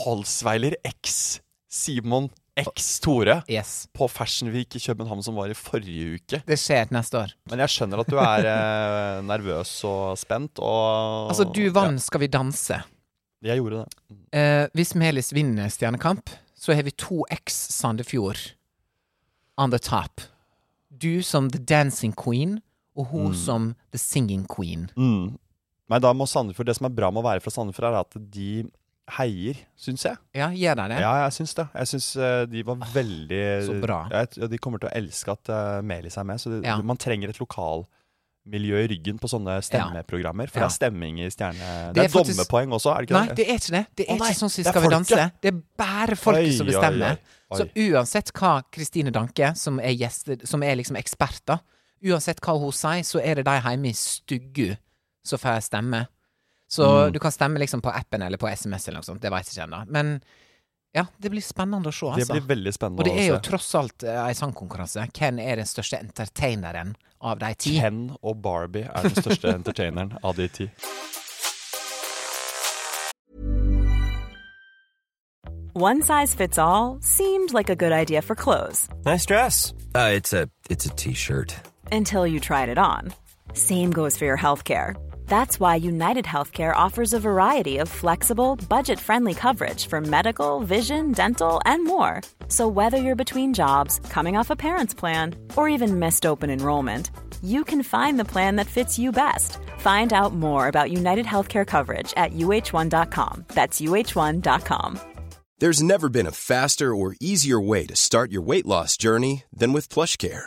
[SPEAKER 1] Holsweiler X. Simon X Tore.
[SPEAKER 2] Yes.
[SPEAKER 1] På Fashion Week i København som var i forrige uke.
[SPEAKER 2] Det skjer neste år.
[SPEAKER 1] Men jeg skjønner at du er eh, nervøs og spent, og
[SPEAKER 2] Altså, du vant Skal vi danse.
[SPEAKER 1] Ja, jeg gjorde det.
[SPEAKER 2] Eh, hvis Melis vinner Stjernekamp, så har vi to X Sandefjord on the top. Du som The Dancing Queen, og hun som The Singing Queen.
[SPEAKER 1] Mm. Nei, da må Sandefjord Det som er bra med å være fra Sandefjord, er at de heier, syns jeg.
[SPEAKER 2] Ja, gjør de det?
[SPEAKER 1] Ja, jeg syns det. Jeg syns eh, de var veldig
[SPEAKER 2] så bra.
[SPEAKER 1] Ja, jeg- ja, de kommer til å elske at eh, Melis er med, så det,
[SPEAKER 2] Ja.
[SPEAKER 1] man trenger et lokal miljø i ryggen på sånne stemmeprogrammer. For
[SPEAKER 2] Ja.
[SPEAKER 1] det er stemming i stjerne... Det er,
[SPEAKER 2] Det er faktisk-
[SPEAKER 1] dommepoeng også, er det ikke
[SPEAKER 2] Nei, det er ikke det. Det
[SPEAKER 1] Å,
[SPEAKER 2] er
[SPEAKER 1] nei,
[SPEAKER 2] ikke sånn som
[SPEAKER 1] det er
[SPEAKER 2] Skal vi
[SPEAKER 1] folket.
[SPEAKER 2] danse. Det er bare folket
[SPEAKER 1] Oi,
[SPEAKER 2] som
[SPEAKER 1] oi,
[SPEAKER 2] bestemmer.
[SPEAKER 1] oi, oi.
[SPEAKER 2] Så uansett hva Kristine Danke, som er, gjester, som er liksom eksperter, uansett hva hun sier, så er det de hjemme i stugu som får stemme. Så
[SPEAKER 1] Mm.
[SPEAKER 2] du kan stemme liksom på appen eller på SMS eller noe sånt, det veit jeg ikke ennå. Men ja, det blir spennende å se,
[SPEAKER 1] Det
[SPEAKER 2] altså.
[SPEAKER 1] blir veldig spennende
[SPEAKER 2] Og det er jo
[SPEAKER 1] å se.
[SPEAKER 2] tross alt eh, ei sangkonkurranse. Hvem er den største entertaineren av de ti?
[SPEAKER 1] Ken og Barbie er den største entertaineren av de ti.
[SPEAKER 3] One size fits all seemed like a good idea for clothes
[SPEAKER 4] Nice dress. Uh, it's a it's a t-shirt.
[SPEAKER 3] until you tried it on. Same goes for your healthcare. That's why United Healthcare offers a variety of flexible, budget friendly coverage for medical, vision, dental, and more. So, whether you're between jobs, coming off a parent's plan, or even missed open enrollment, you can find the plan that fits you best. Find out more about United Healthcare coverage at uh1.com. That's uh1.com.
[SPEAKER 5] There's never been a faster or easier way to start your weight loss journey than with PlushCare.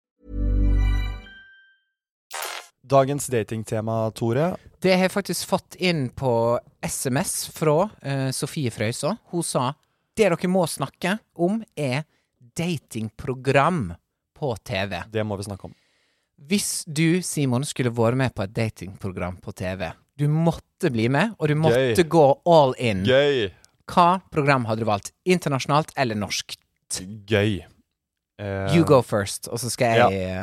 [SPEAKER 1] Dagens datingtema, Tore.
[SPEAKER 2] Det har jeg faktisk fått inn på SMS fra eh, Sofie Frøysaa. Hun sa det dere må snakke om, er datingprogram på TV.
[SPEAKER 1] Det må vi snakke om.
[SPEAKER 2] Hvis du, Simon, skulle vært med på et datingprogram på TV Du måtte bli med, og du måtte
[SPEAKER 1] Gøy.
[SPEAKER 2] gå all in.
[SPEAKER 1] Gøy!
[SPEAKER 2] Hva program hadde du valgt? Internasjonalt eller norsk?
[SPEAKER 1] Gøy. Eh,
[SPEAKER 2] You go first, og så skal jeg eh,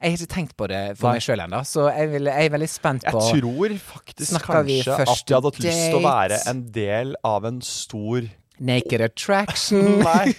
[SPEAKER 2] Jeg har ikke tenkt på det for
[SPEAKER 1] Nei.
[SPEAKER 2] meg sjøl ennå, så jeg, vil, jeg er veldig spent
[SPEAKER 1] Jeg
[SPEAKER 2] på
[SPEAKER 1] tror faktisk
[SPEAKER 2] Snakker vi
[SPEAKER 1] kanskje
[SPEAKER 2] første
[SPEAKER 1] at jeg hadde hatt lyst til å være
[SPEAKER 2] date?
[SPEAKER 1] en del av en stor
[SPEAKER 2] Naked Attraction.
[SPEAKER 1] Nei.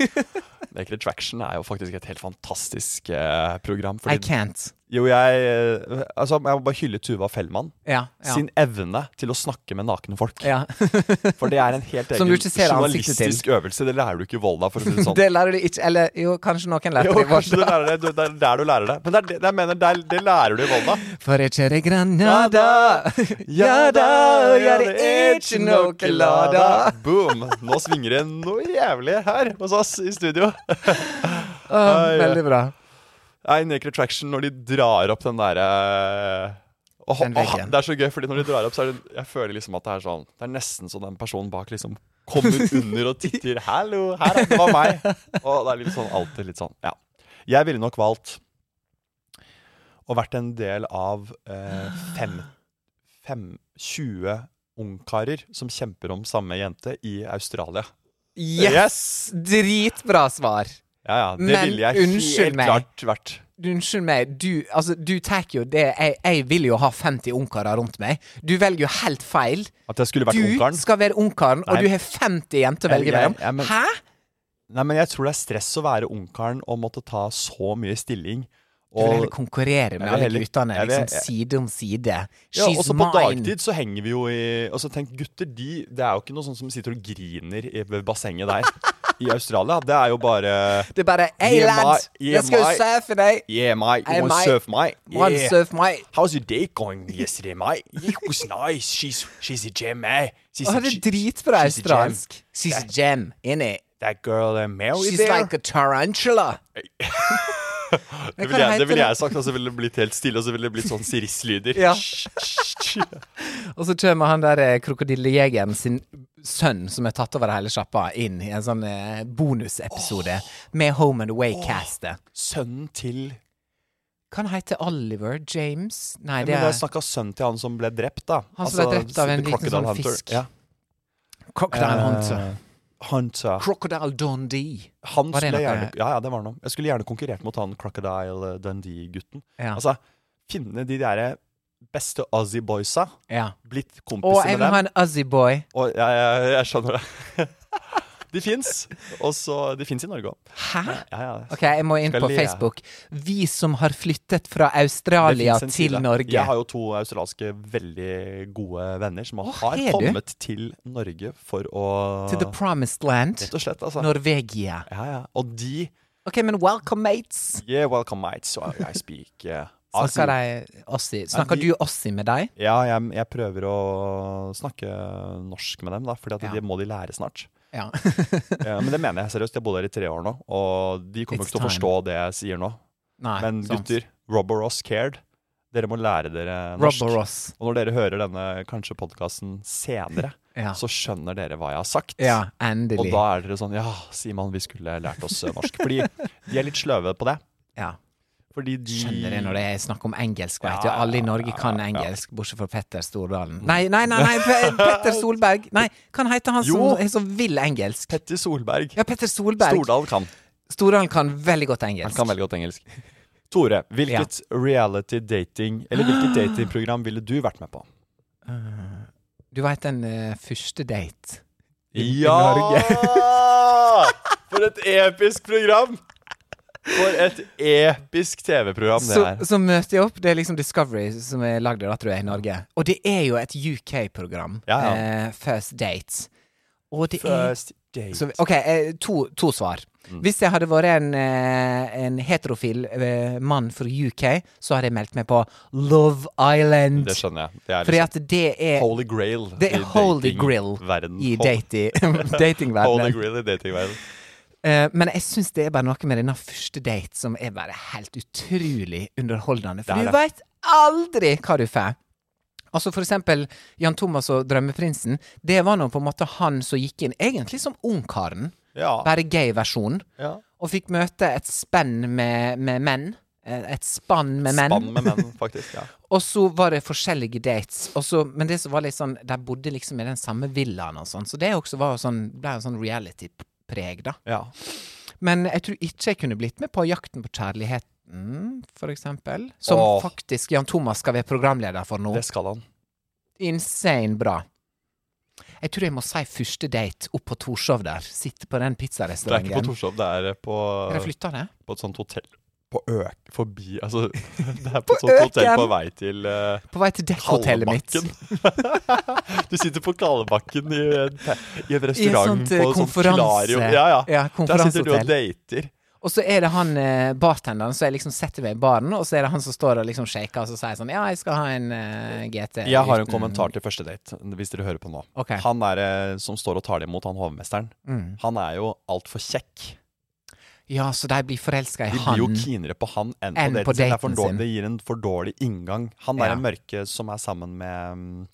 [SPEAKER 1] Naked Attraction er jo faktisk et helt fantastisk eh, program.
[SPEAKER 2] I
[SPEAKER 1] Fordi,
[SPEAKER 2] can't.
[SPEAKER 1] jo, jeg eh, Altså, jeg må bare hylle Tuva Fellmann.
[SPEAKER 2] Ja, ja.
[SPEAKER 1] Sin evne til å snakke med nakne folk.
[SPEAKER 2] ja.
[SPEAKER 1] For det er en helt
[SPEAKER 2] Som du
[SPEAKER 1] egen
[SPEAKER 2] ikke ser ansiktet til.
[SPEAKER 1] journalistisk øvelse. Det lærer du ikke i Volda, for å si det sånn.
[SPEAKER 2] Det lærer du ikke Eller jo, kanskje noen lærte
[SPEAKER 1] jo,
[SPEAKER 2] det i
[SPEAKER 1] kanskje du
[SPEAKER 2] Volda.
[SPEAKER 1] lærer det. Du- Det er der du lærer det. Men det, er, det- jeg mener, det, er, det lærer du i Volda.
[SPEAKER 2] For jeg kjører Granada, ja da, og gjør det ikke noe lada.
[SPEAKER 1] Boom! Nå svinger det noe jævlig her hos oss i studio.
[SPEAKER 2] Åh, Veldig bra.
[SPEAKER 1] Nei, Naked Attraction, når de drar opp den eh, derre Åh,
[SPEAKER 2] Den
[SPEAKER 1] åh,
[SPEAKER 2] veggen.
[SPEAKER 1] det er så gøy, fordi når de drar opp, så er det Jeg føler liksom at det er sånn Det er nesten så den personen bak liksom kommer under og titter 'Hallo, her er det var meg'. Og det er litt sånn alltid litt sånn. Ja. Jeg ville nok valgt å vært en del av eh, fem, fem 20 ungkarer som kjemper om samme jente i Australia.
[SPEAKER 2] Yes! Dritbra svar.
[SPEAKER 1] Ja, ja. Det
[SPEAKER 2] Men
[SPEAKER 1] ville jeg
[SPEAKER 2] unnskyld
[SPEAKER 1] helt
[SPEAKER 2] meg.
[SPEAKER 1] klart vært.
[SPEAKER 2] Du, Unnskyld meg, du, altså, du tar jo det jeg, jeg vil jo ha 50 ungkarer rundt meg. Du velger jo helt feil.
[SPEAKER 1] At jeg skulle vært
[SPEAKER 2] Du
[SPEAKER 1] ungkaren.
[SPEAKER 2] skal være ungkaren,
[SPEAKER 1] Nei.
[SPEAKER 2] og du har 50 jenter å
[SPEAKER 1] Jeg-
[SPEAKER 2] velge
[SPEAKER 1] jeg-
[SPEAKER 2] mellom.
[SPEAKER 1] jeg- men-
[SPEAKER 2] Hæ?
[SPEAKER 1] Nei, men jeg tror det er stress å være ungkaren og måtte ta så mye stilling.
[SPEAKER 2] Du vil
[SPEAKER 1] Og
[SPEAKER 2] heller konkurrere med
[SPEAKER 1] vil
[SPEAKER 2] alle
[SPEAKER 1] heller-
[SPEAKER 2] guttene,
[SPEAKER 1] jeg vil-
[SPEAKER 2] liksom side om side.
[SPEAKER 1] ja,
[SPEAKER 2] She's
[SPEAKER 1] også på
[SPEAKER 2] mine.
[SPEAKER 1] dagtid så henger vi jo i Og så tenk, gutter, de Det er jo ikke noe sånn som sitter og griner i ved bassenget der i Australia. Det er jo bare
[SPEAKER 2] Det er bare Hei,
[SPEAKER 1] Yeah,
[SPEAKER 2] lad!
[SPEAKER 1] my- yeah,
[SPEAKER 2] Jeg skal jo
[SPEAKER 1] my-
[SPEAKER 2] surfe deg!
[SPEAKER 1] Yeah, mate.
[SPEAKER 2] Hey,
[SPEAKER 1] You wanna
[SPEAKER 2] mate.
[SPEAKER 1] surf, mate?
[SPEAKER 2] Wanna
[SPEAKER 1] Yeah.
[SPEAKER 2] surf, mate?
[SPEAKER 1] How's your day going yesterday, mate? It was nice. She's, she's a gem, eh? She's
[SPEAKER 2] Å,
[SPEAKER 1] a,
[SPEAKER 2] det er
[SPEAKER 1] she-
[SPEAKER 2] dritbra
[SPEAKER 1] she's a gem.
[SPEAKER 2] australsk. She's a gem, inni.
[SPEAKER 1] That girl uh, Mary
[SPEAKER 2] She's
[SPEAKER 1] there.
[SPEAKER 2] like a tarantula.
[SPEAKER 1] det
[SPEAKER 2] hva
[SPEAKER 1] ville jeg,
[SPEAKER 2] heter
[SPEAKER 1] det ville
[SPEAKER 2] det?
[SPEAKER 1] jeg sagt, og så ville det blitt helt stille, og så ville det blitt sånn sirisslyder.
[SPEAKER 2] Ja. Og så kommer han der eh, krokodillejegeren sin sønn, som er tatt over hele sjappa, inn i en sånn eh, bonusepisode med Home and Away-castet.
[SPEAKER 1] Sønnen til
[SPEAKER 2] Hva han heter Oliver James? Nei,
[SPEAKER 1] Ja,
[SPEAKER 2] det
[SPEAKER 1] men det
[SPEAKER 2] er
[SPEAKER 1] er snakka sønnen til han som ble drept, da.
[SPEAKER 2] Han som ble drept av
[SPEAKER 1] The
[SPEAKER 2] en liten
[SPEAKER 1] Crocodile
[SPEAKER 2] sånn
[SPEAKER 1] Hunter.
[SPEAKER 2] fisk.
[SPEAKER 1] Ja.
[SPEAKER 2] Crocodile Hunter.
[SPEAKER 1] Eh, Hunter.
[SPEAKER 2] Crocodile Dundee.
[SPEAKER 1] Han
[SPEAKER 2] Var det
[SPEAKER 1] skulle
[SPEAKER 2] noe-
[SPEAKER 1] gjerne, ja, ja, det var noe. Jeg skulle gjerne konkurrert mot han Crocodile eh, Dundee-gutten.
[SPEAKER 2] Ja.
[SPEAKER 1] Altså, finne de derre beste Aussie boysa.
[SPEAKER 2] ja.
[SPEAKER 1] Blitt
[SPEAKER 2] Og
[SPEAKER 1] kompiser
[SPEAKER 2] jeg
[SPEAKER 1] med
[SPEAKER 2] vil ha
[SPEAKER 1] dem.
[SPEAKER 2] en Uzzy boy.
[SPEAKER 1] Og, ja, ja, jeg skjønner det. De fins. Og så De fins i Norge òg.
[SPEAKER 2] Hæ?
[SPEAKER 1] Ja, ja, så-
[SPEAKER 2] Ok, jeg må inn
[SPEAKER 1] Skal
[SPEAKER 2] på
[SPEAKER 1] le.
[SPEAKER 2] Facebook. Vi som har flyttet fra
[SPEAKER 1] Det
[SPEAKER 2] Australia
[SPEAKER 1] finnes en
[SPEAKER 2] til
[SPEAKER 1] side.
[SPEAKER 2] Norge.
[SPEAKER 1] Jeg har jo to australske veldig gode venner som har
[SPEAKER 2] har du?
[SPEAKER 1] kommet til Norge for å
[SPEAKER 2] To the promised land.
[SPEAKER 1] Rett og slett, altså.
[SPEAKER 2] Norvegia.
[SPEAKER 1] Ja, ja. Og de
[SPEAKER 2] Ok, men welcome, mates.
[SPEAKER 1] Yeah, welcome, mate. So I I speak eh,
[SPEAKER 2] Snakker,
[SPEAKER 1] Aussie.
[SPEAKER 2] de Aussie? Snakker
[SPEAKER 1] de-
[SPEAKER 2] du Ossi med deg?
[SPEAKER 1] Ja, jeg, jeg prøver å snakke norsk med dem, da, for
[SPEAKER 2] Ja.
[SPEAKER 1] det må de lære snart.
[SPEAKER 2] Ja.
[SPEAKER 1] Ja, men det mener jeg seriøst. Jeg har bodd her i tre år nå, og de kommer
[SPEAKER 2] It's
[SPEAKER 1] ikke til å
[SPEAKER 2] time.
[SPEAKER 1] forstå det jeg sier nå.
[SPEAKER 2] Nei,
[SPEAKER 1] Men
[SPEAKER 2] sant.
[SPEAKER 1] gutter, Rob og Ross cared. Dere må lære dere norsk.
[SPEAKER 2] Rob og Ross.
[SPEAKER 1] Og når dere hører denne kanskje podkasten senere,
[SPEAKER 2] Ja.
[SPEAKER 1] så skjønner dere hva jeg har sagt.
[SPEAKER 2] ja, endelig.
[SPEAKER 1] Og da er dere sånn Ja, Simon, vi skulle lært oss eh, norsk. Fordi de er litt sløve på det.
[SPEAKER 2] ja.
[SPEAKER 1] Fordi de
[SPEAKER 2] Skjønner det når det er snakk om engelsk, vet du.
[SPEAKER 1] Ja,
[SPEAKER 2] Alle i
[SPEAKER 1] ja,
[SPEAKER 2] Norge
[SPEAKER 1] ja,
[SPEAKER 2] kan
[SPEAKER 1] ja. Mm.
[SPEAKER 2] engelsk, bortsett fra Petter Stordalen. Nei, nei, nei, nei Pe- Petter Solberg. Nei, hva heter han som
[SPEAKER 1] Jo.
[SPEAKER 2] er så vill engelsk?
[SPEAKER 1] Petter Solberg.
[SPEAKER 2] Ja, Petter Solberg.
[SPEAKER 1] Stordal kan.
[SPEAKER 2] Stordalen kan veldig godt
[SPEAKER 1] Han
[SPEAKER 2] engelsk.
[SPEAKER 1] kan veldig godt engelsk. Tore, hvilket reality dating Eller
[SPEAKER 2] Ah.
[SPEAKER 1] hvilket datingprogram ville du vært med på?
[SPEAKER 2] Du veit den eh, første date i
[SPEAKER 1] For et episk program! For et episk TV-program det
[SPEAKER 2] så,
[SPEAKER 1] er.
[SPEAKER 2] så møter jeg opp. Det er liksom Discovery som er lagd av tror jeg, i Norge. Og det er jo et UK-program.
[SPEAKER 1] Ja, ja.
[SPEAKER 2] eh, first Date. Og det er
[SPEAKER 1] First Mm. date.
[SPEAKER 2] så, OK, eh, to, to svar. Hvis jeg hadde vært en, eh, en heterofil eh, mann fra UK, så hadde jeg meldt meg på Love Island.
[SPEAKER 1] Det skjønner jeg. Det er
[SPEAKER 2] Fordi
[SPEAKER 1] liksom
[SPEAKER 2] at det er
[SPEAKER 1] holy grail
[SPEAKER 2] det er holy grill
[SPEAKER 1] datingverden.
[SPEAKER 2] i
[SPEAKER 1] Hol-
[SPEAKER 2] dati- datingverdenen.
[SPEAKER 1] Holy grail i datingverden.
[SPEAKER 2] Eh, men jeg syns det er bare noe med denne første date som er bare helt utrolig underholdende.
[SPEAKER 1] Det er
[SPEAKER 2] For du
[SPEAKER 1] det.
[SPEAKER 2] veit aldri hva du får. Altså for eksempel Jan Thomas og Drømmeprinsen. Det var nå på en måte han som gikk inn, egentlig som ungkaren,
[SPEAKER 1] Ja.
[SPEAKER 2] bare gay-versjonen,
[SPEAKER 1] ja.
[SPEAKER 2] og fikk møte et spenn med, med menn. Eh, Et spann med menn.
[SPEAKER 1] Spann med menn, faktisk. Ja.
[SPEAKER 2] Og så var det forskjellige dates. Og så, men det som var litt sånn de bodde liksom i den samme villaen og sånn, så det også var jo sånn, ble jo sånn reality-preg, da.
[SPEAKER 1] ja.
[SPEAKER 2] Men jeg tror ikke jeg kunne blitt med på Jakten på kjærligheten, for eksempel. Som
[SPEAKER 1] Åh.
[SPEAKER 2] faktisk Jan Thomas skal være programleder for nå.
[SPEAKER 1] Det skal han.
[SPEAKER 2] Insane bra. Jeg tror jeg må si første date opp på Torshov der. Sitte på
[SPEAKER 1] Det er
[SPEAKER 2] den
[SPEAKER 1] ikke på
[SPEAKER 2] pizzarestauranten.
[SPEAKER 1] Torshov, det er på,
[SPEAKER 2] Har jeg flytta det?
[SPEAKER 1] på et sånt hotell. På øk... Forbi Altså, det er på et sånt
[SPEAKER 2] øken!
[SPEAKER 1] hotell på vei til eh,
[SPEAKER 2] På vei til dekkhotellet mitt.
[SPEAKER 1] Kallebakken. du sitter på Kallebakken i, en, i en
[SPEAKER 2] I et
[SPEAKER 1] restaurant
[SPEAKER 2] sånt eh,
[SPEAKER 1] på et sånt
[SPEAKER 2] konferanse...
[SPEAKER 1] klarium. Ja, ja. Der sitter du og
[SPEAKER 2] konferansehotell.
[SPEAKER 1] dater.
[SPEAKER 2] Og så er det han eh, bartenderen som jeg liksom setter meg i baren, og så er det han som står og liksom shaker og så sier sånn Ja, jeg skal ha en eh, GT.
[SPEAKER 1] Jeg har en
[SPEAKER 2] uten-
[SPEAKER 1] kommentar til første date, hvis dere hører på nå.
[SPEAKER 2] Ok. Mm.
[SPEAKER 1] Han er, eh, som står og tar det imot, han hovmesteren, han er jo altfor kjekk.
[SPEAKER 2] Ja, så de blir forelska i
[SPEAKER 1] De
[SPEAKER 2] han.
[SPEAKER 1] blir jo keenere på han enn
[SPEAKER 2] Enn på
[SPEAKER 1] på daten sin. Det, er for
[SPEAKER 2] daten
[SPEAKER 1] dårlig-
[SPEAKER 2] sin.
[SPEAKER 1] det gir en for dårlig inngang. Han
[SPEAKER 2] Ja.
[SPEAKER 1] er en mørke som er sammen med mm,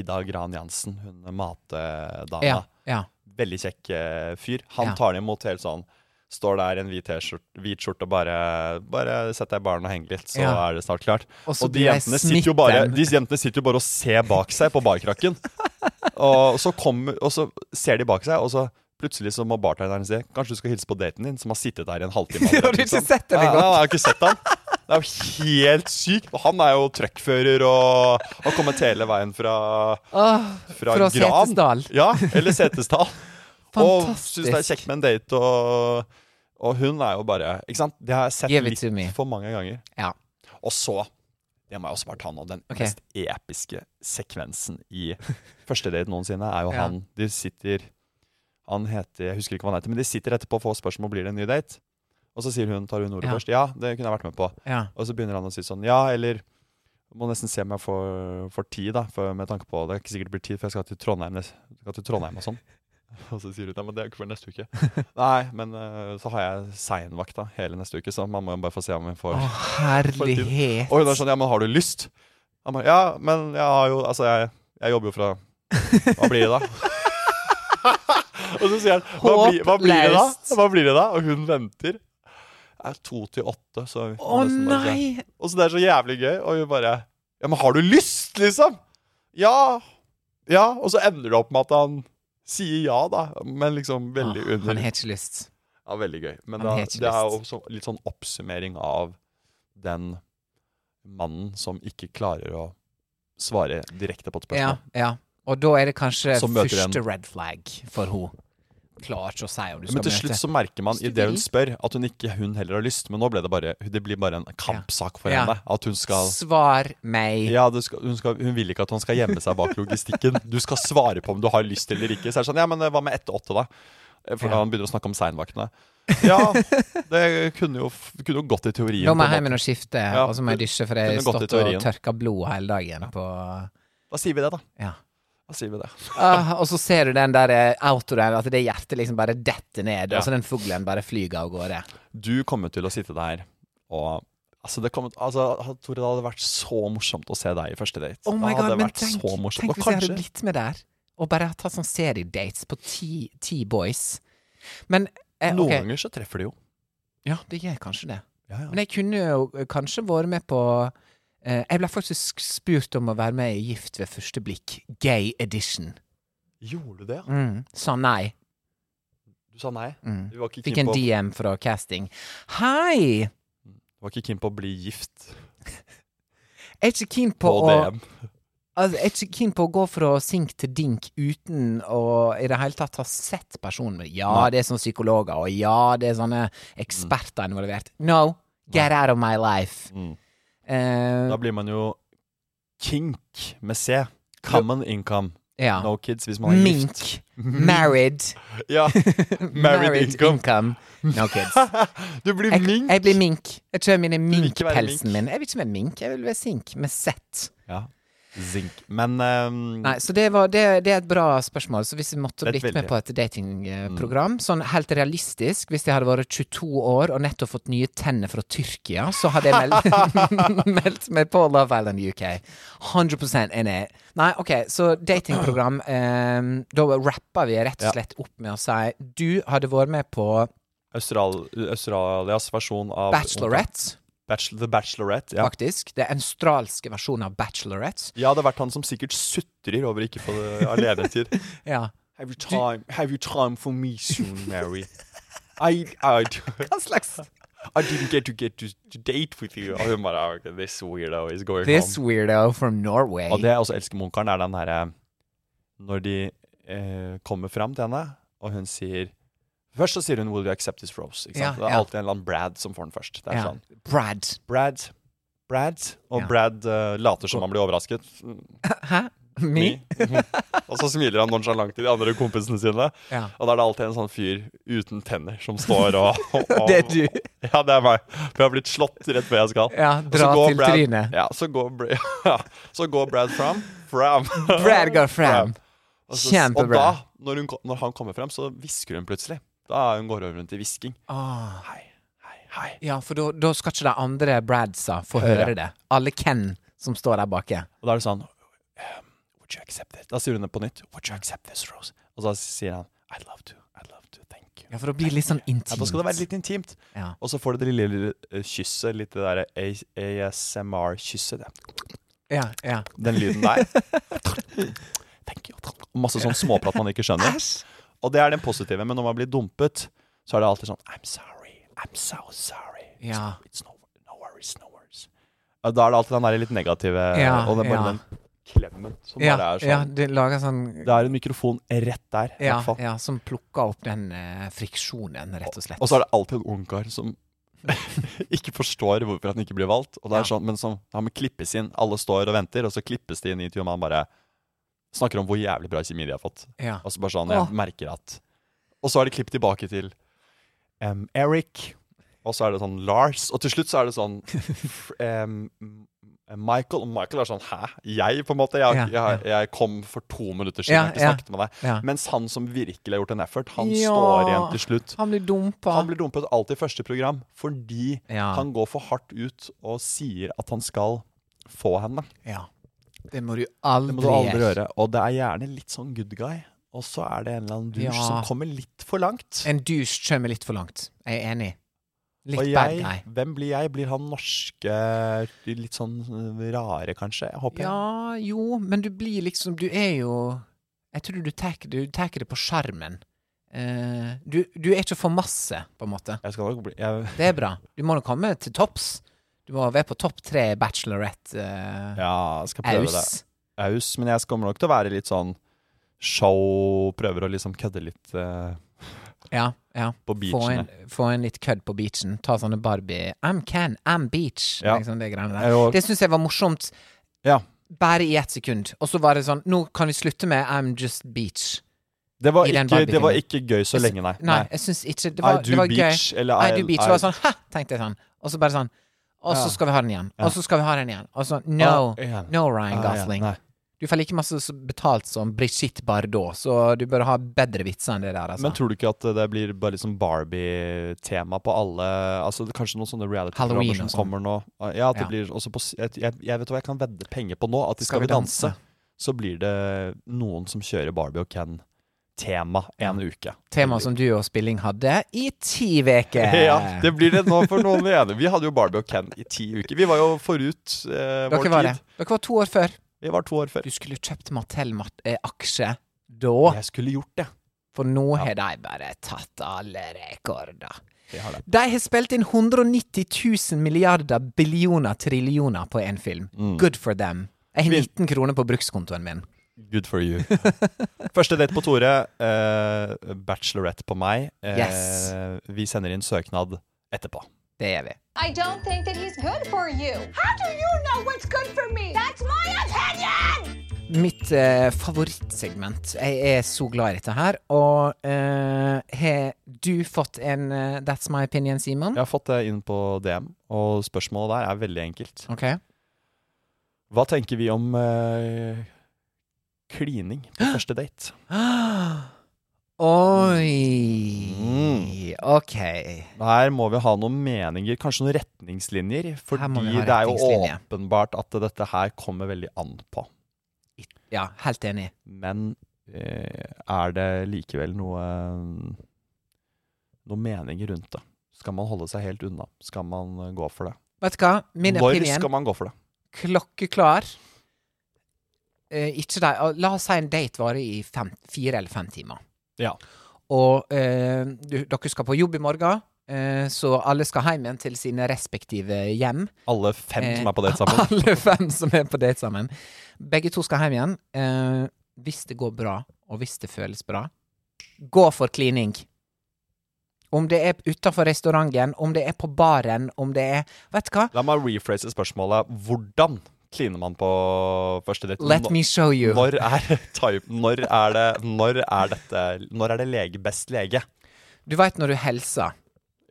[SPEAKER 1] Ida Gran Jansen, hun matdama.
[SPEAKER 2] Ja, ja.
[SPEAKER 1] Veldig kjekk eh, fyr. Han
[SPEAKER 2] Ja.
[SPEAKER 1] tar det imot helt sånn. Står der i en hvit T-skjorte hvit skjorte og bare Bare sett deg i baren og heng litt, så
[SPEAKER 2] Ja.
[SPEAKER 1] er det snart klart. Og,
[SPEAKER 2] Og så
[SPEAKER 1] de,
[SPEAKER 2] blir jeg
[SPEAKER 1] jentene sitter jo bare,
[SPEAKER 2] smitten.
[SPEAKER 1] de jentene sitter jo bare og ser bak seg på barkrakken. og, så kommer, og så ser de bak seg, og så plutselig så må bartenderen si Kanskje du skal hilse på daten din, som har sittet der i en halvtime.
[SPEAKER 2] Har du ikke
[SPEAKER 1] liksom.
[SPEAKER 2] sett henne
[SPEAKER 1] Ja,
[SPEAKER 2] godt?
[SPEAKER 1] ja, jeg har ikke sett han. Det er jo helt sykt. Og Han er jo truckfører og har kommet hele veien fra, fra,
[SPEAKER 2] Ah, fra
[SPEAKER 1] Gran.
[SPEAKER 2] Setesdal.
[SPEAKER 1] Ja, eller Setesdal. og
[SPEAKER 2] Fantastisk.
[SPEAKER 1] syns det er kjekt med en date, og, og hun er jo bare Ikke sant? Det har jeg sett
[SPEAKER 2] Give it to me.
[SPEAKER 1] litt for mange ganger.
[SPEAKER 2] ja.
[SPEAKER 1] Og så det må jeg også bare ta nå. Den
[SPEAKER 2] Ok.
[SPEAKER 1] mest episke sekvensen i første date noensinne er jo
[SPEAKER 2] Ja.
[SPEAKER 1] han De sitter Han heter Jeg husker ikke hva han heter, men de sitter etterpå og får spørsmål blir det en ny date. Og så sier hun, tar hun ordet
[SPEAKER 2] Ja.
[SPEAKER 1] først. Ja, det kunne jeg vært med på.
[SPEAKER 2] Ja.
[SPEAKER 1] Og så begynner han å si sånn Ja, eller må nesten se om jeg får, får tid, da. For, med tanke på Det er ikke sikkert det blir tid, for jeg skal til Trondheim, nes- jeg skal til Trondheim og sånn. Og så sier hun ja, men det er ikke før neste uke. Nei, men eh, så har jeg seinvakt da hele neste uke, så man må jo bare få se om hun får
[SPEAKER 2] Å,
[SPEAKER 1] og hun er
[SPEAKER 2] herlighet.
[SPEAKER 1] sånn, ja, men har du lyst? Han bare, ja, men jeg har jo, altså jeg, jeg jobber jo fra Hva blir det da? og så sier han, hva, blir- hva blir det da?
[SPEAKER 2] Håpløst.
[SPEAKER 1] Hva blir det da? Og hun venter. Det er to til åtte, så vi
[SPEAKER 2] Å
[SPEAKER 1] må nesten bare se.
[SPEAKER 2] nei!
[SPEAKER 1] Og så det er så jævlig gøy, og hun bare Ja, men har du lyst, liksom? Ja. Ja. Og så ender det opp med at han sier ja, da, men liksom veldig
[SPEAKER 2] Åh,
[SPEAKER 1] under
[SPEAKER 2] Ah, han har ikke lyst.
[SPEAKER 1] ja, veldig gøy. Men
[SPEAKER 2] Han
[SPEAKER 1] da,
[SPEAKER 2] har ikke
[SPEAKER 1] det er jo
[SPEAKER 2] lyst.
[SPEAKER 1] så, litt sånn oppsummering av den mannen som ikke klarer å svare direkte på et
[SPEAKER 2] Ja,
[SPEAKER 1] spørsmål.
[SPEAKER 2] ja. Og da er det kanskje
[SPEAKER 1] Så møter
[SPEAKER 2] første
[SPEAKER 1] en-
[SPEAKER 2] red flag for henne. klarer ikke å si om du skal
[SPEAKER 1] Men til
[SPEAKER 2] møte.
[SPEAKER 1] slutt så merker man
[SPEAKER 2] Hvis du
[SPEAKER 1] i det hun
[SPEAKER 2] vil.
[SPEAKER 1] spør, at hun ikke hun heller har lyst. Men nå ble det bare Det blir bare en kampsak for
[SPEAKER 2] Ja.
[SPEAKER 1] henne. At hun skal
[SPEAKER 2] Svar meg.
[SPEAKER 1] Ja, du skal, hun, skal, hun vil ikke at han skal gjemme seg bak logistikken. Du skal svare på om du har lyst eller ikke. Så er det sånn, ja, men eh, hva med ett til åtte, da? Eh, For da
[SPEAKER 2] Ja.
[SPEAKER 1] han begynner å snakke om seinvaktene. Ja, det kunne jo, f- kunne jo gått i teorien.
[SPEAKER 2] Nå må
[SPEAKER 1] på en
[SPEAKER 2] jeg hjem
[SPEAKER 1] måte.
[SPEAKER 2] og skifte,
[SPEAKER 1] Ja,
[SPEAKER 2] og så må jeg dusje, for jeg har
[SPEAKER 1] kunne gått i
[SPEAKER 2] stått og
[SPEAKER 1] teorien.
[SPEAKER 2] tørka blod hele dagen på
[SPEAKER 1] Da sier vi det, da.
[SPEAKER 2] Ja.
[SPEAKER 1] Da sier vi det.
[SPEAKER 2] Ah, og så ser du den der eh, autoen, at det hjertet liksom bare detter ned,
[SPEAKER 1] Ja.
[SPEAKER 2] og så den fuglen bare flyger av gårde.
[SPEAKER 1] Du kommer til å sitte der og Altså, det kommer, altså, Tore, det hadde vært så morsomt å se deg i første date.
[SPEAKER 2] Oh my
[SPEAKER 1] det
[SPEAKER 2] god,
[SPEAKER 1] hadde
[SPEAKER 2] men
[SPEAKER 1] vært
[SPEAKER 2] tenk,
[SPEAKER 1] så morsomt.
[SPEAKER 2] tenk
[SPEAKER 1] Og
[SPEAKER 2] hvis jeg
[SPEAKER 1] kanskje,
[SPEAKER 2] hadde blitt med der, og bare tatt sånn seriedates på ti, ti boys. Men eh,
[SPEAKER 1] Noen
[SPEAKER 2] ok.
[SPEAKER 1] ganger så treffer de jo.
[SPEAKER 2] Ja, det gjør kanskje det.
[SPEAKER 1] Ja, ja.
[SPEAKER 2] Men jeg kunne jo eh, kanskje vært med på eh, Jeg ble faktisk spurt om å være med i Gift ved første blikk, gay edition.
[SPEAKER 1] Gjorde du det? ja?
[SPEAKER 2] Mm. Sa nei.
[SPEAKER 1] Du sa nei?
[SPEAKER 2] Mm.
[SPEAKER 1] Du var ikke
[SPEAKER 2] Fikk
[SPEAKER 1] keen
[SPEAKER 2] en
[SPEAKER 1] på-
[SPEAKER 2] DM fra casting. Hei!
[SPEAKER 1] du var ikke keen på å bli gift
[SPEAKER 2] Jeg er ikke keen på,
[SPEAKER 1] på
[SPEAKER 2] å
[SPEAKER 1] DM?
[SPEAKER 2] altså, Jeg er ikke keen på å gå fra sink til dink uten å i det hele tatt ha sett personen. Ja,
[SPEAKER 1] Nei.
[SPEAKER 2] det er sånne psykologer, og ja, det er sånne eksperter involvert. No! Get out of my life.
[SPEAKER 1] Mm.
[SPEAKER 2] Eh,
[SPEAKER 1] Da blir man jo kink med C. Common income.
[SPEAKER 2] ja.
[SPEAKER 1] No kids hvis man er gift.
[SPEAKER 2] Mink. Married.
[SPEAKER 1] Ja. Married income.
[SPEAKER 2] No kids.
[SPEAKER 1] Du blir
[SPEAKER 2] Jeg,
[SPEAKER 1] mink.
[SPEAKER 2] jeg blir mink. Jeg tror jeg min er
[SPEAKER 1] vil ikke være
[SPEAKER 2] minkpelsen
[SPEAKER 1] mink.
[SPEAKER 2] min. Jeg vil ikke være mink, jeg vil være sink med Z.
[SPEAKER 1] Ja. Zink. Men ehm,
[SPEAKER 2] Nei, så det, var, det, det er et bra spørsmål. Så hvis jeg måtte
[SPEAKER 1] Det er et
[SPEAKER 2] blitt
[SPEAKER 1] veldig-
[SPEAKER 2] med
[SPEAKER 1] Mm.
[SPEAKER 2] på et datingprogram, sånn helt realistisk, hvis jeg hadde vært 22 år og nettopp fått nye tenner fra Tyrkia, så hadde jeg meldt, meldt meg på Love Island UK. 100 in it. Nei, OK, så datingprogram eh, Da rapper vi rett
[SPEAKER 1] Ja.
[SPEAKER 2] og slett opp med å si du hadde vært med på
[SPEAKER 1] Austral Australias versjon av
[SPEAKER 2] Bachelorette.
[SPEAKER 1] Bachelor, the Bachelorette. Ja.
[SPEAKER 2] faktisk. Det er en australske versjon av Bachelorette.
[SPEAKER 1] ja, det har vært han som sikkert sutrer over ikke å få det alenetid.
[SPEAKER 2] Ja.
[SPEAKER 1] Have you time, have you time for me soon, Mary? I, I,
[SPEAKER 2] Hva slags
[SPEAKER 1] I didn't get to get to, to date with you. Og hun bare okay, This weirdo is going home.
[SPEAKER 2] This weirdo from Norway.
[SPEAKER 1] Og det jeg også elsker med onkelen, er den derre Når de eh, kommer fram til henne, og hun sier Først så sier hun 'Will you accept this rose?' Ikke sant?
[SPEAKER 2] Ja,
[SPEAKER 1] det er
[SPEAKER 2] ja.
[SPEAKER 1] alltid en eller annen Brad som får den først. Det er
[SPEAKER 2] ja.
[SPEAKER 1] sånn
[SPEAKER 2] Brad.
[SPEAKER 1] Brad, Brad Og
[SPEAKER 2] Ja.
[SPEAKER 1] Brad eh, later som han blir overrasket.
[SPEAKER 2] Hæ? Me?
[SPEAKER 1] og så smiler han nonchalant til de andre kompisene sine.
[SPEAKER 2] Ja.
[SPEAKER 1] Og da er det alltid en sånn fyr uten tenner som står og, og, og
[SPEAKER 2] Det er du.
[SPEAKER 1] Ja, det er meg. For jeg har blitt slått rett ved jeg skal.
[SPEAKER 2] Ja,
[SPEAKER 1] Og så
[SPEAKER 2] dra
[SPEAKER 1] går
[SPEAKER 2] til
[SPEAKER 1] Brad,
[SPEAKER 2] trynet.
[SPEAKER 1] Ja, så går, Br- ja, så går Brad fram. Fram.
[SPEAKER 2] Brad går fram.
[SPEAKER 1] Altså, Og så- Og
[SPEAKER 2] Kjempebra.
[SPEAKER 1] da, når, hun, ko- når han kommer fram, så hvisker hun plutselig. Da er hun går over rundt i hvisking.
[SPEAKER 2] Ah.
[SPEAKER 1] Hei, hei, hei.
[SPEAKER 2] Ja, for da- da skal ikke de andre Bradsa få
[SPEAKER 1] Høre.
[SPEAKER 2] høre det. Alle Ken som står der bake.
[SPEAKER 1] Og da er det sånn ehm, Would you accept it? Da sier hun det på nytt. Would you accept this, Rose? Og så sier han I'd love to. I'd love to. Thank you.
[SPEAKER 2] Ja, for da blir det litt sånn
[SPEAKER 1] Ja, da skal det være
[SPEAKER 2] intimt.
[SPEAKER 1] litt intimt.
[SPEAKER 2] Ja.
[SPEAKER 1] Og så får du det lille, lille eh, kysset, litt det derre ASMR-kysset. det.
[SPEAKER 2] Ja, ja.
[SPEAKER 1] Den lyden der. Thank you. Og masse sånn småprat man ikke skjønner. Og det er den positive, men når man blir dumpet, så er det alltid sånn I'm sorry, I'm so sorry. It's-
[SPEAKER 2] Ja.
[SPEAKER 1] It's no, no worries, no worries. Ja, Da er det alltid den der litt negative,
[SPEAKER 2] Ja,
[SPEAKER 1] og det er bare
[SPEAKER 2] ja.
[SPEAKER 1] den klemmen som bare
[SPEAKER 2] Ja,
[SPEAKER 1] er sånn.
[SPEAKER 2] ja, du lager sånn
[SPEAKER 1] Det er en mikrofon rett der, i
[SPEAKER 2] ja,
[SPEAKER 1] hvert fall.
[SPEAKER 2] ja, som plukker opp den eh, friksjonen, rett og slett.
[SPEAKER 1] Og så er det alltid en ungkar som ikke forstår hvorfor han ikke blir valgt. Og det er sånn, men som, Han må klippes inn. Alle står og venter, og så klippes de inn i intervjuet, og man bare snakker om hvor jævlig bra kjemi de har fått.
[SPEAKER 2] Ja.
[SPEAKER 1] Og så bare sånn, jeg
[SPEAKER 2] Åh.
[SPEAKER 1] merker at Og så er det klipp tilbake til em, Eric, og så er det sånn Lars, og til slutt så er det sånn f- em, Michael. Og Michael er sånn Hæ? Jeg, på en måte? Jeg,
[SPEAKER 2] Ja,
[SPEAKER 1] jeg, jeg kom for to minutter siden, jeg har
[SPEAKER 2] Ja,
[SPEAKER 1] ikke
[SPEAKER 2] ja.
[SPEAKER 1] snakket med deg.
[SPEAKER 2] Ja.
[SPEAKER 1] Mens han som virkelig har gjort en effort, han
[SPEAKER 2] Ja.
[SPEAKER 1] står igjen til slutt.
[SPEAKER 2] Han blir dumpa.
[SPEAKER 1] sånn. Han blir dumpet alltid i første program fordi
[SPEAKER 2] Ja.
[SPEAKER 1] han går for hardt ut og sier at han skal få henne.
[SPEAKER 2] Ja. Det må du aldri,
[SPEAKER 1] Det må du aldri gjøre. Og det er gjerne litt sånn good guy. Og så er det en eller annen dusj
[SPEAKER 2] Ja.
[SPEAKER 1] som kommer litt for langt.
[SPEAKER 2] En douche kommer litt for langt. Jeg er enig. Litt
[SPEAKER 1] og
[SPEAKER 2] bad
[SPEAKER 1] jeg,
[SPEAKER 2] guy.
[SPEAKER 1] hvem blir jeg? Blir han norske, litt sånn eh, rare, kanskje? Jeg håper jeg.
[SPEAKER 2] Ja, jo, men du blir liksom Du er jo Jeg tror du tar du tar det på skjermen. Eh, du, du er ikke for masse, på en måte.
[SPEAKER 1] Jeg skal nok bli jeg,
[SPEAKER 2] Det er bra. Du må nå komme til topps. Du må være på topp tre bachelorette. eh,
[SPEAKER 1] Ja, jeg skal prøve det.
[SPEAKER 2] Aus.
[SPEAKER 1] Aus. Men jeg kommer nok til å være litt sånn show, prøver å liksom kødde litt. eh,
[SPEAKER 2] Ja, ja.
[SPEAKER 1] På
[SPEAKER 2] Få
[SPEAKER 1] beachene.
[SPEAKER 2] en, få en litt kødd på beachen. Ta sånne Barbie I'm Ken, I'm Beach.
[SPEAKER 1] Ja.
[SPEAKER 2] Liksom det greiene
[SPEAKER 1] Jeg
[SPEAKER 2] der.
[SPEAKER 1] var-
[SPEAKER 2] Det syns jeg var morsomt
[SPEAKER 1] Ja.
[SPEAKER 2] bare i ett sekund. Og så var det sånn Nå kan vi slutte med I'm Just Beach.
[SPEAKER 1] Det var,
[SPEAKER 2] I den
[SPEAKER 1] ikke, det var
[SPEAKER 2] Barbie-filmen.
[SPEAKER 1] ikke gøy så
[SPEAKER 2] Jeg sy-
[SPEAKER 1] lenge, nei.
[SPEAKER 2] Nei, jeg syns ikke Det
[SPEAKER 1] I
[SPEAKER 2] var,
[SPEAKER 1] do
[SPEAKER 2] det var
[SPEAKER 1] beach,
[SPEAKER 2] gøy.
[SPEAKER 1] eller
[SPEAKER 2] I
[SPEAKER 1] I-
[SPEAKER 2] do beach.
[SPEAKER 1] I-
[SPEAKER 2] Det var sånn Hæ, tenkte jeg sånn. Og så bare sånn Og så
[SPEAKER 1] Ja.
[SPEAKER 2] skal vi ha den igjen.
[SPEAKER 1] Ja.
[SPEAKER 2] Og så skal vi ha den igjen. Og så No.
[SPEAKER 1] Ah, igjen.
[SPEAKER 2] No, Ryan
[SPEAKER 1] Ah, ja,
[SPEAKER 2] Gosling.
[SPEAKER 1] nei.
[SPEAKER 2] Du får like masse s- betalt som Brigitte Bardot, så du bør ha bedre vitser enn det der, altså.
[SPEAKER 1] Men tror du ikke at det blir bare liksom Barbie-tema på alle Altså det er Kanskje noen sånne
[SPEAKER 2] Halloween
[SPEAKER 1] reality-programmer som
[SPEAKER 2] og sånn.
[SPEAKER 1] kommer nå. Ja, at det
[SPEAKER 2] Ja.
[SPEAKER 1] blir også på s- jeg, jeg jeg vet hva jeg kan vedde penger på nå, at i Skal, vi danse, så blir det noen som kjører Barbie og Ken-tema en uke.
[SPEAKER 2] Tema som du og Spilling hadde i ti uker.
[SPEAKER 1] Ja, det blir det nå for noen igjen. Vi hadde jo Barbie og Ken i ti uker. Vi var jo forut eh, vår
[SPEAKER 2] Dere var det.
[SPEAKER 1] tid.
[SPEAKER 2] Dere var to år før.
[SPEAKER 1] Vi var to år før.
[SPEAKER 2] Du skulle kjøpt Mattel-aksje da,
[SPEAKER 1] Jeg skulle gjort det.
[SPEAKER 2] for nå har de bare tatt alle rekorder. De har spilt inn 190 000 milliarder billioner trillioner på én film. Good for them. Jeg har
[SPEAKER 1] Vin-
[SPEAKER 2] 19 kroner på brukskontoen min.
[SPEAKER 1] Good for you. Første date på Tore. Eh, bachelorette på meg. Eh,
[SPEAKER 2] Yes.
[SPEAKER 1] Vi sender inn søknad etterpå.
[SPEAKER 2] Det er vi.
[SPEAKER 6] I don't think that he's good for you. How do you know what's good for me? That's my opinion!
[SPEAKER 2] Mitt eh, favorittsegment. Jeg er så glad i dette her. Og eh, har du fått en eh, That's my opinion, Simon?
[SPEAKER 1] Jeg har fått det inn på DM, og spørsmålet der er veldig enkelt.
[SPEAKER 2] Ok.
[SPEAKER 1] Hva tenker vi om eh, klining på første date?
[SPEAKER 2] Oi.
[SPEAKER 1] Mm.
[SPEAKER 2] Ok.
[SPEAKER 1] Her må vi ha noen meninger, kanskje noen retningslinjer.
[SPEAKER 2] Her må vi
[SPEAKER 1] Fordi
[SPEAKER 2] ha
[SPEAKER 1] det er jo
[SPEAKER 2] retningslinjer.
[SPEAKER 1] åpenbart at dette her kommer veldig an på.
[SPEAKER 2] Ja, helt enig.
[SPEAKER 1] Men eh, er det likevel noe Noe mening rundt det? Skal man holde seg helt unna? Skal man eh, gå for det?
[SPEAKER 2] Vet du hva? Min
[SPEAKER 1] Når
[SPEAKER 2] opinion
[SPEAKER 1] skal man gå for det?
[SPEAKER 2] klokkeklar. Eh, ikke de ah, La oss si en date varer i fem, fire eller fem timer.
[SPEAKER 1] Ja.
[SPEAKER 2] Og eh, du, dere skal på jobb i morgen, eh, så alle skal hjem igjen til sine respektive hjem.
[SPEAKER 1] Alle fem
[SPEAKER 2] Eh,
[SPEAKER 1] som er på date sammen?
[SPEAKER 2] Alle fem som er på date sammen. Begge to skal hjem igjen. Eh, hvis det går bra, og hvis det føles bra, gå for klining. Om det er utafor restauranten, om det er på baren, om det er Vet du hva?
[SPEAKER 1] La meg rephrase spørsmålet. Hvordan kliner man på første date?
[SPEAKER 2] Let me show you.
[SPEAKER 1] Når er, type, når er det Når er dette Når er det lege best lege?
[SPEAKER 2] Du veit når du hilser,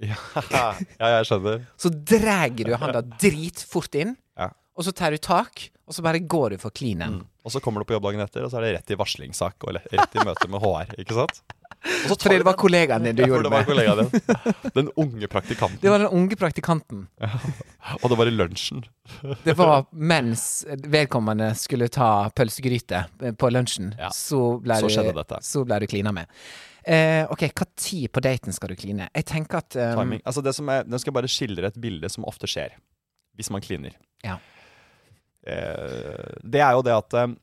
[SPEAKER 1] Ja, ja jeg skjønner.
[SPEAKER 2] så drar du handa dritfort inn,
[SPEAKER 1] Ja. Mm.
[SPEAKER 2] og så tar du tak, og så bare går du for cleanen.
[SPEAKER 1] Og så kommer du på jobb dagen etter, og så er det rett i varslingssak og le- rett i møte med HR. Ikke sant? Og så tar
[SPEAKER 2] Fordi
[SPEAKER 1] du
[SPEAKER 2] det var
[SPEAKER 1] den-
[SPEAKER 2] kollegaen din du
[SPEAKER 1] Ja, for
[SPEAKER 2] gjorde
[SPEAKER 1] det var
[SPEAKER 2] med.
[SPEAKER 1] kollegaen din. Den unge praktikanten.
[SPEAKER 2] Det var den unge praktikanten.
[SPEAKER 1] Og det var i lunsjen.
[SPEAKER 2] Det var mens vedkommende skulle ta pølsegryte eh, på lunsjen,
[SPEAKER 1] Ja,
[SPEAKER 2] så ble
[SPEAKER 1] så
[SPEAKER 2] du-
[SPEAKER 1] skjedde dette.
[SPEAKER 2] Så ble du klina med. Eh, ok, hva tid på daten skal du kline? Jeg tenker at eh,
[SPEAKER 1] Timing. Altså det som er, den skal bare skildre et bilde som ofte skjer hvis man kliner.
[SPEAKER 2] Ja.
[SPEAKER 1] Eh, det er jo det at eh,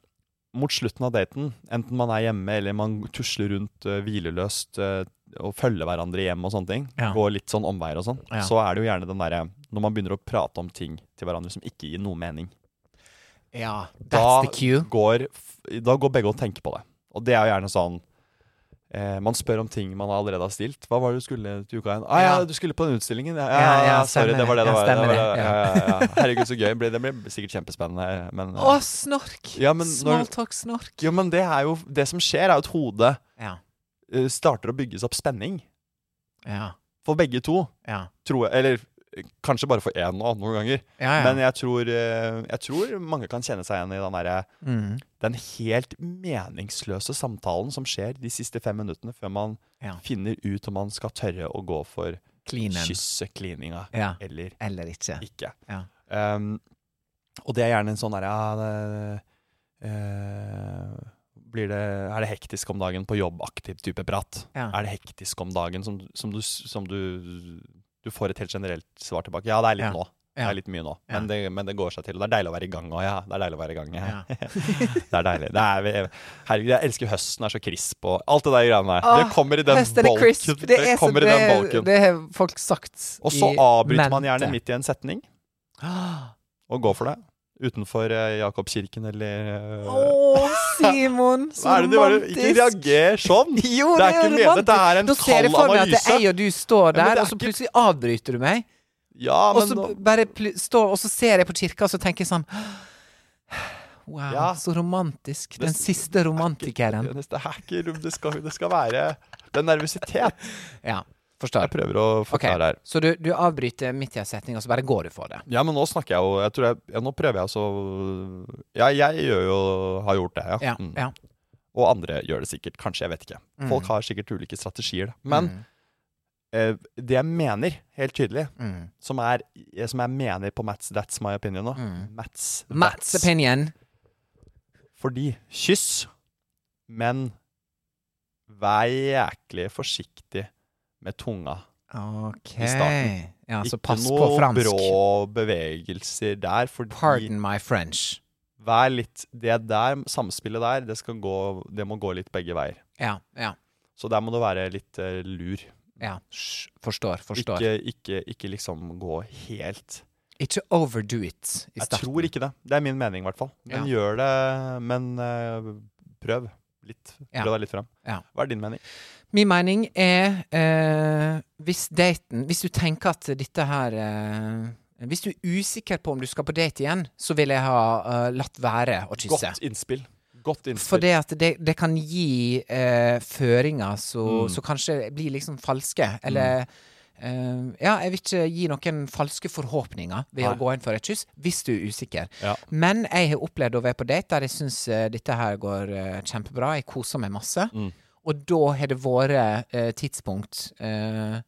[SPEAKER 1] mot slutten av daten, enten man er hjemme eller man tusler rundt eh, hvileløst eh, og følger hverandre hjem og sånne ting,
[SPEAKER 2] Ja.
[SPEAKER 1] går litt sånn omveier og sånn,
[SPEAKER 2] Ja.
[SPEAKER 1] så er det jo gjerne den derre når man begynner å prate om ting til hverandre som ikke gir noe mening.
[SPEAKER 2] Ja, that's
[SPEAKER 1] da
[SPEAKER 2] the cue.
[SPEAKER 1] Går, f- da går begge og tenker på det. Og det er jo gjerne sånn eh, Man spør om ting man allerede har stilt. 'Hva var det du skulle til uka igjen?' 'Ah, ja,
[SPEAKER 2] Ja.
[SPEAKER 1] du skulle på den utstillingen.' Ja,
[SPEAKER 2] Ja,
[SPEAKER 1] ja,
[SPEAKER 2] ja,
[SPEAKER 1] sorry,
[SPEAKER 2] stemmer
[SPEAKER 1] det var det
[SPEAKER 2] det.
[SPEAKER 1] det
[SPEAKER 2] Ja,
[SPEAKER 1] var. Det
[SPEAKER 2] stemmer
[SPEAKER 1] var det.
[SPEAKER 2] det.
[SPEAKER 1] Ja, ja, ja. Herregud, så gøy. Det blir, det blir sikkert kjempespennende, men
[SPEAKER 2] Å,
[SPEAKER 1] eh,
[SPEAKER 2] snork!
[SPEAKER 1] Ja, men når-
[SPEAKER 2] Smalltalk-snork.
[SPEAKER 1] Jo, men det er jo Det som skjer, er jo at hodet
[SPEAKER 2] Ja,
[SPEAKER 1] eh, starter å bygges opp spenning
[SPEAKER 2] ja,
[SPEAKER 1] for begge to,
[SPEAKER 2] ja.
[SPEAKER 1] tror jeg. Eller eh, kanskje bare for én nå, noen ganger.
[SPEAKER 2] ja, ja.
[SPEAKER 1] Men jeg tror, eh, jeg tror mange kan kjenne seg igjen i den derre
[SPEAKER 2] Mm,
[SPEAKER 1] den helt meningsløse samtalen som skjer de siste fem minuttene før man
[SPEAKER 2] Ja.
[SPEAKER 1] finner ut om man skal tørre å gå for
[SPEAKER 2] Cleanen.
[SPEAKER 1] kysseklininga
[SPEAKER 2] Ja.
[SPEAKER 1] eller
[SPEAKER 2] Eller ikke.
[SPEAKER 1] ikke.
[SPEAKER 2] Ja.
[SPEAKER 1] Um, og det er gjerne en sånn derre ja, det- eh, blir det, Er det hektisk om dagen på jobbaktiv type prat?
[SPEAKER 2] Ja.
[SPEAKER 1] Er det hektisk om dagen som, som, du, som du Du får et helt generelt svar tilbake. Ja, det er litt
[SPEAKER 2] Ja.
[SPEAKER 1] nå. Det
[SPEAKER 2] Ja.
[SPEAKER 1] er litt mye nå,
[SPEAKER 2] Ja.
[SPEAKER 1] men, det, men det går seg til. Og det er deilig å være i gang òg, ja. Det er deilig å være i gang. Ja.
[SPEAKER 2] Ja.
[SPEAKER 1] Det er deilig. Det er, herregud, jeg elsker høsten er så crisp og alt det der greiene der.
[SPEAKER 2] Åh,
[SPEAKER 1] det kommer i den
[SPEAKER 2] høst er det
[SPEAKER 1] bolken.
[SPEAKER 2] crisp. Det, er så-
[SPEAKER 1] kommer i den
[SPEAKER 2] det-
[SPEAKER 1] bolken.
[SPEAKER 2] Det har folk sagt.
[SPEAKER 1] og så
[SPEAKER 2] i
[SPEAKER 1] avbryter man
[SPEAKER 2] mente.
[SPEAKER 1] gjerne midt i en setning og går for det. utenfor eh, Jakobskirken eller eh,
[SPEAKER 2] Å, Simon! Så
[SPEAKER 1] Hva er det du bare Ikke
[SPEAKER 2] romantisk.
[SPEAKER 1] reager sånn!
[SPEAKER 2] Jo,
[SPEAKER 1] det er ikke meningen. Dette er en
[SPEAKER 2] Da ser
[SPEAKER 1] kald
[SPEAKER 2] jeg for meg at det
[SPEAKER 1] analyse.
[SPEAKER 2] er jeg og du står
[SPEAKER 1] Ja, men
[SPEAKER 2] der,
[SPEAKER 1] det er
[SPEAKER 2] og så
[SPEAKER 1] ikke-
[SPEAKER 2] plutselig avbryter du meg.
[SPEAKER 1] Ja,
[SPEAKER 2] Og
[SPEAKER 1] men
[SPEAKER 2] så
[SPEAKER 1] nå-
[SPEAKER 2] bare pl- står Og så ser jeg på kirka, og så tenker jeg sånn Wow,
[SPEAKER 1] Ja.
[SPEAKER 2] så romantisk. Den
[SPEAKER 1] Det-
[SPEAKER 2] siste romantikeren.
[SPEAKER 1] Det er ikke rom- Det skal, det skal være Det er nervøsitet.
[SPEAKER 2] Ja,
[SPEAKER 1] Jeg
[SPEAKER 2] forstår.
[SPEAKER 1] prøver å
[SPEAKER 2] Ok,
[SPEAKER 1] forklare her.
[SPEAKER 2] Så du, du avbryter midt i en setning, og så bare går du for det.
[SPEAKER 1] Ja, men nå snakker jeg jo jeg tror jeg, ja, Nå prøver jeg så Ja, jeg gjør jo har gjort det, ja.
[SPEAKER 2] Ja,
[SPEAKER 1] Mm.
[SPEAKER 2] ja. Mm.
[SPEAKER 1] Og andre gjør det sikkert. Kanskje. Jeg vet ikke. Folk har sikkert ulike strategier. da. Men eh, det jeg mener, helt tydelig,
[SPEAKER 2] Mm.
[SPEAKER 1] som, er, eh, som jeg mener på Mats That's My Opinion nå Mats,
[SPEAKER 2] Mm. Mats
[SPEAKER 1] that's-
[SPEAKER 2] opinion.
[SPEAKER 1] Fordi kyss, men vær jæklig forsiktig med tunga.
[SPEAKER 2] Ok.
[SPEAKER 1] I starten.
[SPEAKER 2] Ja, så
[SPEAKER 1] Ikke
[SPEAKER 2] pass på
[SPEAKER 1] noe
[SPEAKER 2] fransk.
[SPEAKER 1] brå bevegelser der, fordi
[SPEAKER 2] Pardon my French.
[SPEAKER 1] vær litt Det der samspillet der, det, skal gå, det må gå litt begge veier.
[SPEAKER 2] Ja, ja.
[SPEAKER 1] Så der må du være litt eh, lur.
[SPEAKER 2] ja. Sj, Forstår, forstår.
[SPEAKER 1] Ikke, ikke, ikke liksom gå helt
[SPEAKER 2] Ikke overdo it i
[SPEAKER 1] Jeg
[SPEAKER 2] starten.
[SPEAKER 1] tror ikke det. Det er min mening, i hvert fall. Men gjør det Men eh, prøv litt.
[SPEAKER 2] Ja.
[SPEAKER 1] Prøv deg litt frem.
[SPEAKER 2] Ja.
[SPEAKER 1] Hva er din mening?
[SPEAKER 2] Min mening er eh, hvis daten Hvis du tenker at dette her eh, Hvis du er usikker på om du skal på date igjen, så vil jeg ha eh, latt være å kysse.
[SPEAKER 1] Godt innspill. Godt
[SPEAKER 2] For
[SPEAKER 1] innspill.
[SPEAKER 2] det at det, det kan gi eh, føringer
[SPEAKER 1] Mm.
[SPEAKER 2] som kanskje blir liksom falske. Eller eh, Ja, jeg vil ikke gi noen falske forhåpninger ved å
[SPEAKER 1] Mm. Nei.
[SPEAKER 2] gå inn for et kyss, hvis du er usikker.
[SPEAKER 1] Ja.
[SPEAKER 2] Men jeg har opplevd å være på date der jeg syns dette her går eh, kjempebra, jeg koser meg masse.
[SPEAKER 1] Mm.
[SPEAKER 2] Og da har det vært eh, tidspunkt eh,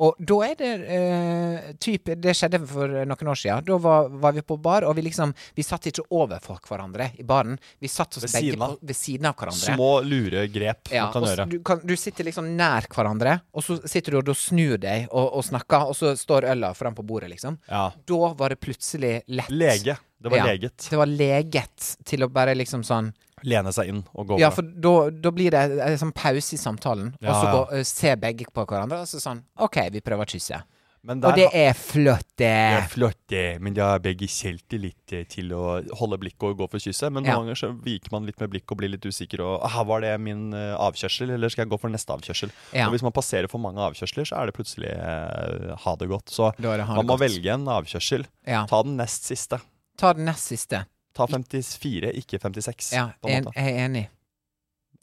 [SPEAKER 2] og da er det eh, typ, Det skjedde for noen år siden. Da var, var vi på bar, og vi liksom Vi satt ikke overfor hverandre i baren. Vi satt oss
[SPEAKER 1] Ved
[SPEAKER 2] begge
[SPEAKER 1] siden av.
[SPEAKER 2] på, ved siden av hverandre.
[SPEAKER 1] Små, lure grep
[SPEAKER 2] Ja,
[SPEAKER 1] man kan
[SPEAKER 2] og s-
[SPEAKER 1] gjøre.
[SPEAKER 2] Du, kan, du sitter liksom nær hverandre, og så sitter du og da snur deg og, og snakker, og så står øla fram på bordet, liksom.
[SPEAKER 1] Ja.
[SPEAKER 2] Da var det plutselig lett.
[SPEAKER 1] Lege. Det var
[SPEAKER 2] Ja,
[SPEAKER 1] leget.
[SPEAKER 2] Det var leget til å bare liksom sånn
[SPEAKER 1] Lene seg inn og gå
[SPEAKER 2] Ja,
[SPEAKER 1] for
[SPEAKER 2] for
[SPEAKER 1] det.
[SPEAKER 2] da, da blir det en sånn pause i samtalen, og
[SPEAKER 1] Ja,
[SPEAKER 2] så
[SPEAKER 1] ja.
[SPEAKER 2] går, eh, ser begge på hverandre, og så sånn OK, vi prøver å kysse.
[SPEAKER 1] Men der
[SPEAKER 2] Og det
[SPEAKER 1] har-
[SPEAKER 2] er flott,
[SPEAKER 1] Det
[SPEAKER 2] det.
[SPEAKER 1] er flott, det, men da har begge selvtillit eh, til å holde blikket og gå for kysset. Men noen
[SPEAKER 2] Ja.
[SPEAKER 1] ganger så viker man litt med blikket og blir litt usikker. Og ah, Var det min eh, avkjørsel, eller skal jeg gå for neste avkjørsel?
[SPEAKER 2] Ja.
[SPEAKER 1] Og Hvis man passerer for mange avkjørsler, så er det plutselig eh, ha det godt. Så
[SPEAKER 2] Da er det ha
[SPEAKER 1] man
[SPEAKER 2] det
[SPEAKER 1] må
[SPEAKER 2] godt.
[SPEAKER 1] velge en avkjørsel.
[SPEAKER 2] Ja.
[SPEAKER 1] Ta den nest siste.
[SPEAKER 2] Ta den nest siste.
[SPEAKER 1] Ta 54, ikke 56.
[SPEAKER 2] Ja,
[SPEAKER 1] på en
[SPEAKER 2] en,
[SPEAKER 1] måte.
[SPEAKER 2] jeg er enig.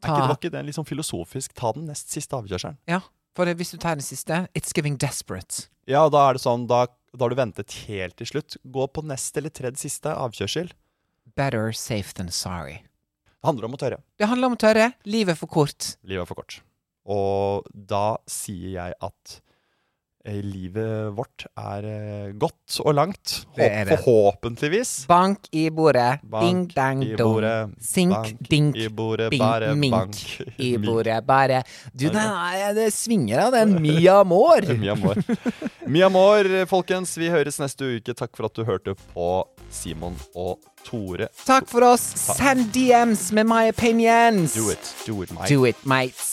[SPEAKER 1] Er ikke,
[SPEAKER 2] ta-
[SPEAKER 1] det var ikke det litt sånn filosofisk? Ta den nest siste avkjørselen.
[SPEAKER 2] Ja, for hvis du tar den siste, it's giving desperate.
[SPEAKER 1] Ja, og da er det sånn, da, da har du ventet helt til slutt. Gå på nest eller tredje siste avkjørsel.
[SPEAKER 2] Better safe than sorry.
[SPEAKER 1] Det handler om å tørre.
[SPEAKER 2] Det handler om å tørre. Livet er for kort.
[SPEAKER 1] Livet er for kort. Og da sier jeg at eh, livet vårt er eh, godt og langt.
[SPEAKER 2] Det er
[SPEAKER 1] Håp-
[SPEAKER 2] det.
[SPEAKER 1] Forhåpentligvis.
[SPEAKER 2] Bank i bordet.
[SPEAKER 1] Bank
[SPEAKER 2] ding, dang,
[SPEAKER 1] i
[SPEAKER 2] dong.
[SPEAKER 1] bordet.
[SPEAKER 2] Sink,
[SPEAKER 1] Bank
[SPEAKER 2] dink,
[SPEAKER 1] i bordet,
[SPEAKER 2] bing,
[SPEAKER 1] bare
[SPEAKER 2] mink
[SPEAKER 1] bank i
[SPEAKER 2] i
[SPEAKER 1] mink.
[SPEAKER 2] bordet. Bare Du, den er, det svinger av den Mia Moore.
[SPEAKER 1] Mia Moore. Mia Moore, folkens. Vi høres neste uke. Takk for at du hørte på Simon og Tore.
[SPEAKER 2] Takk for oss. Send DMs med my opinions.
[SPEAKER 1] Do it. Do it, mate.
[SPEAKER 2] Do it, mates.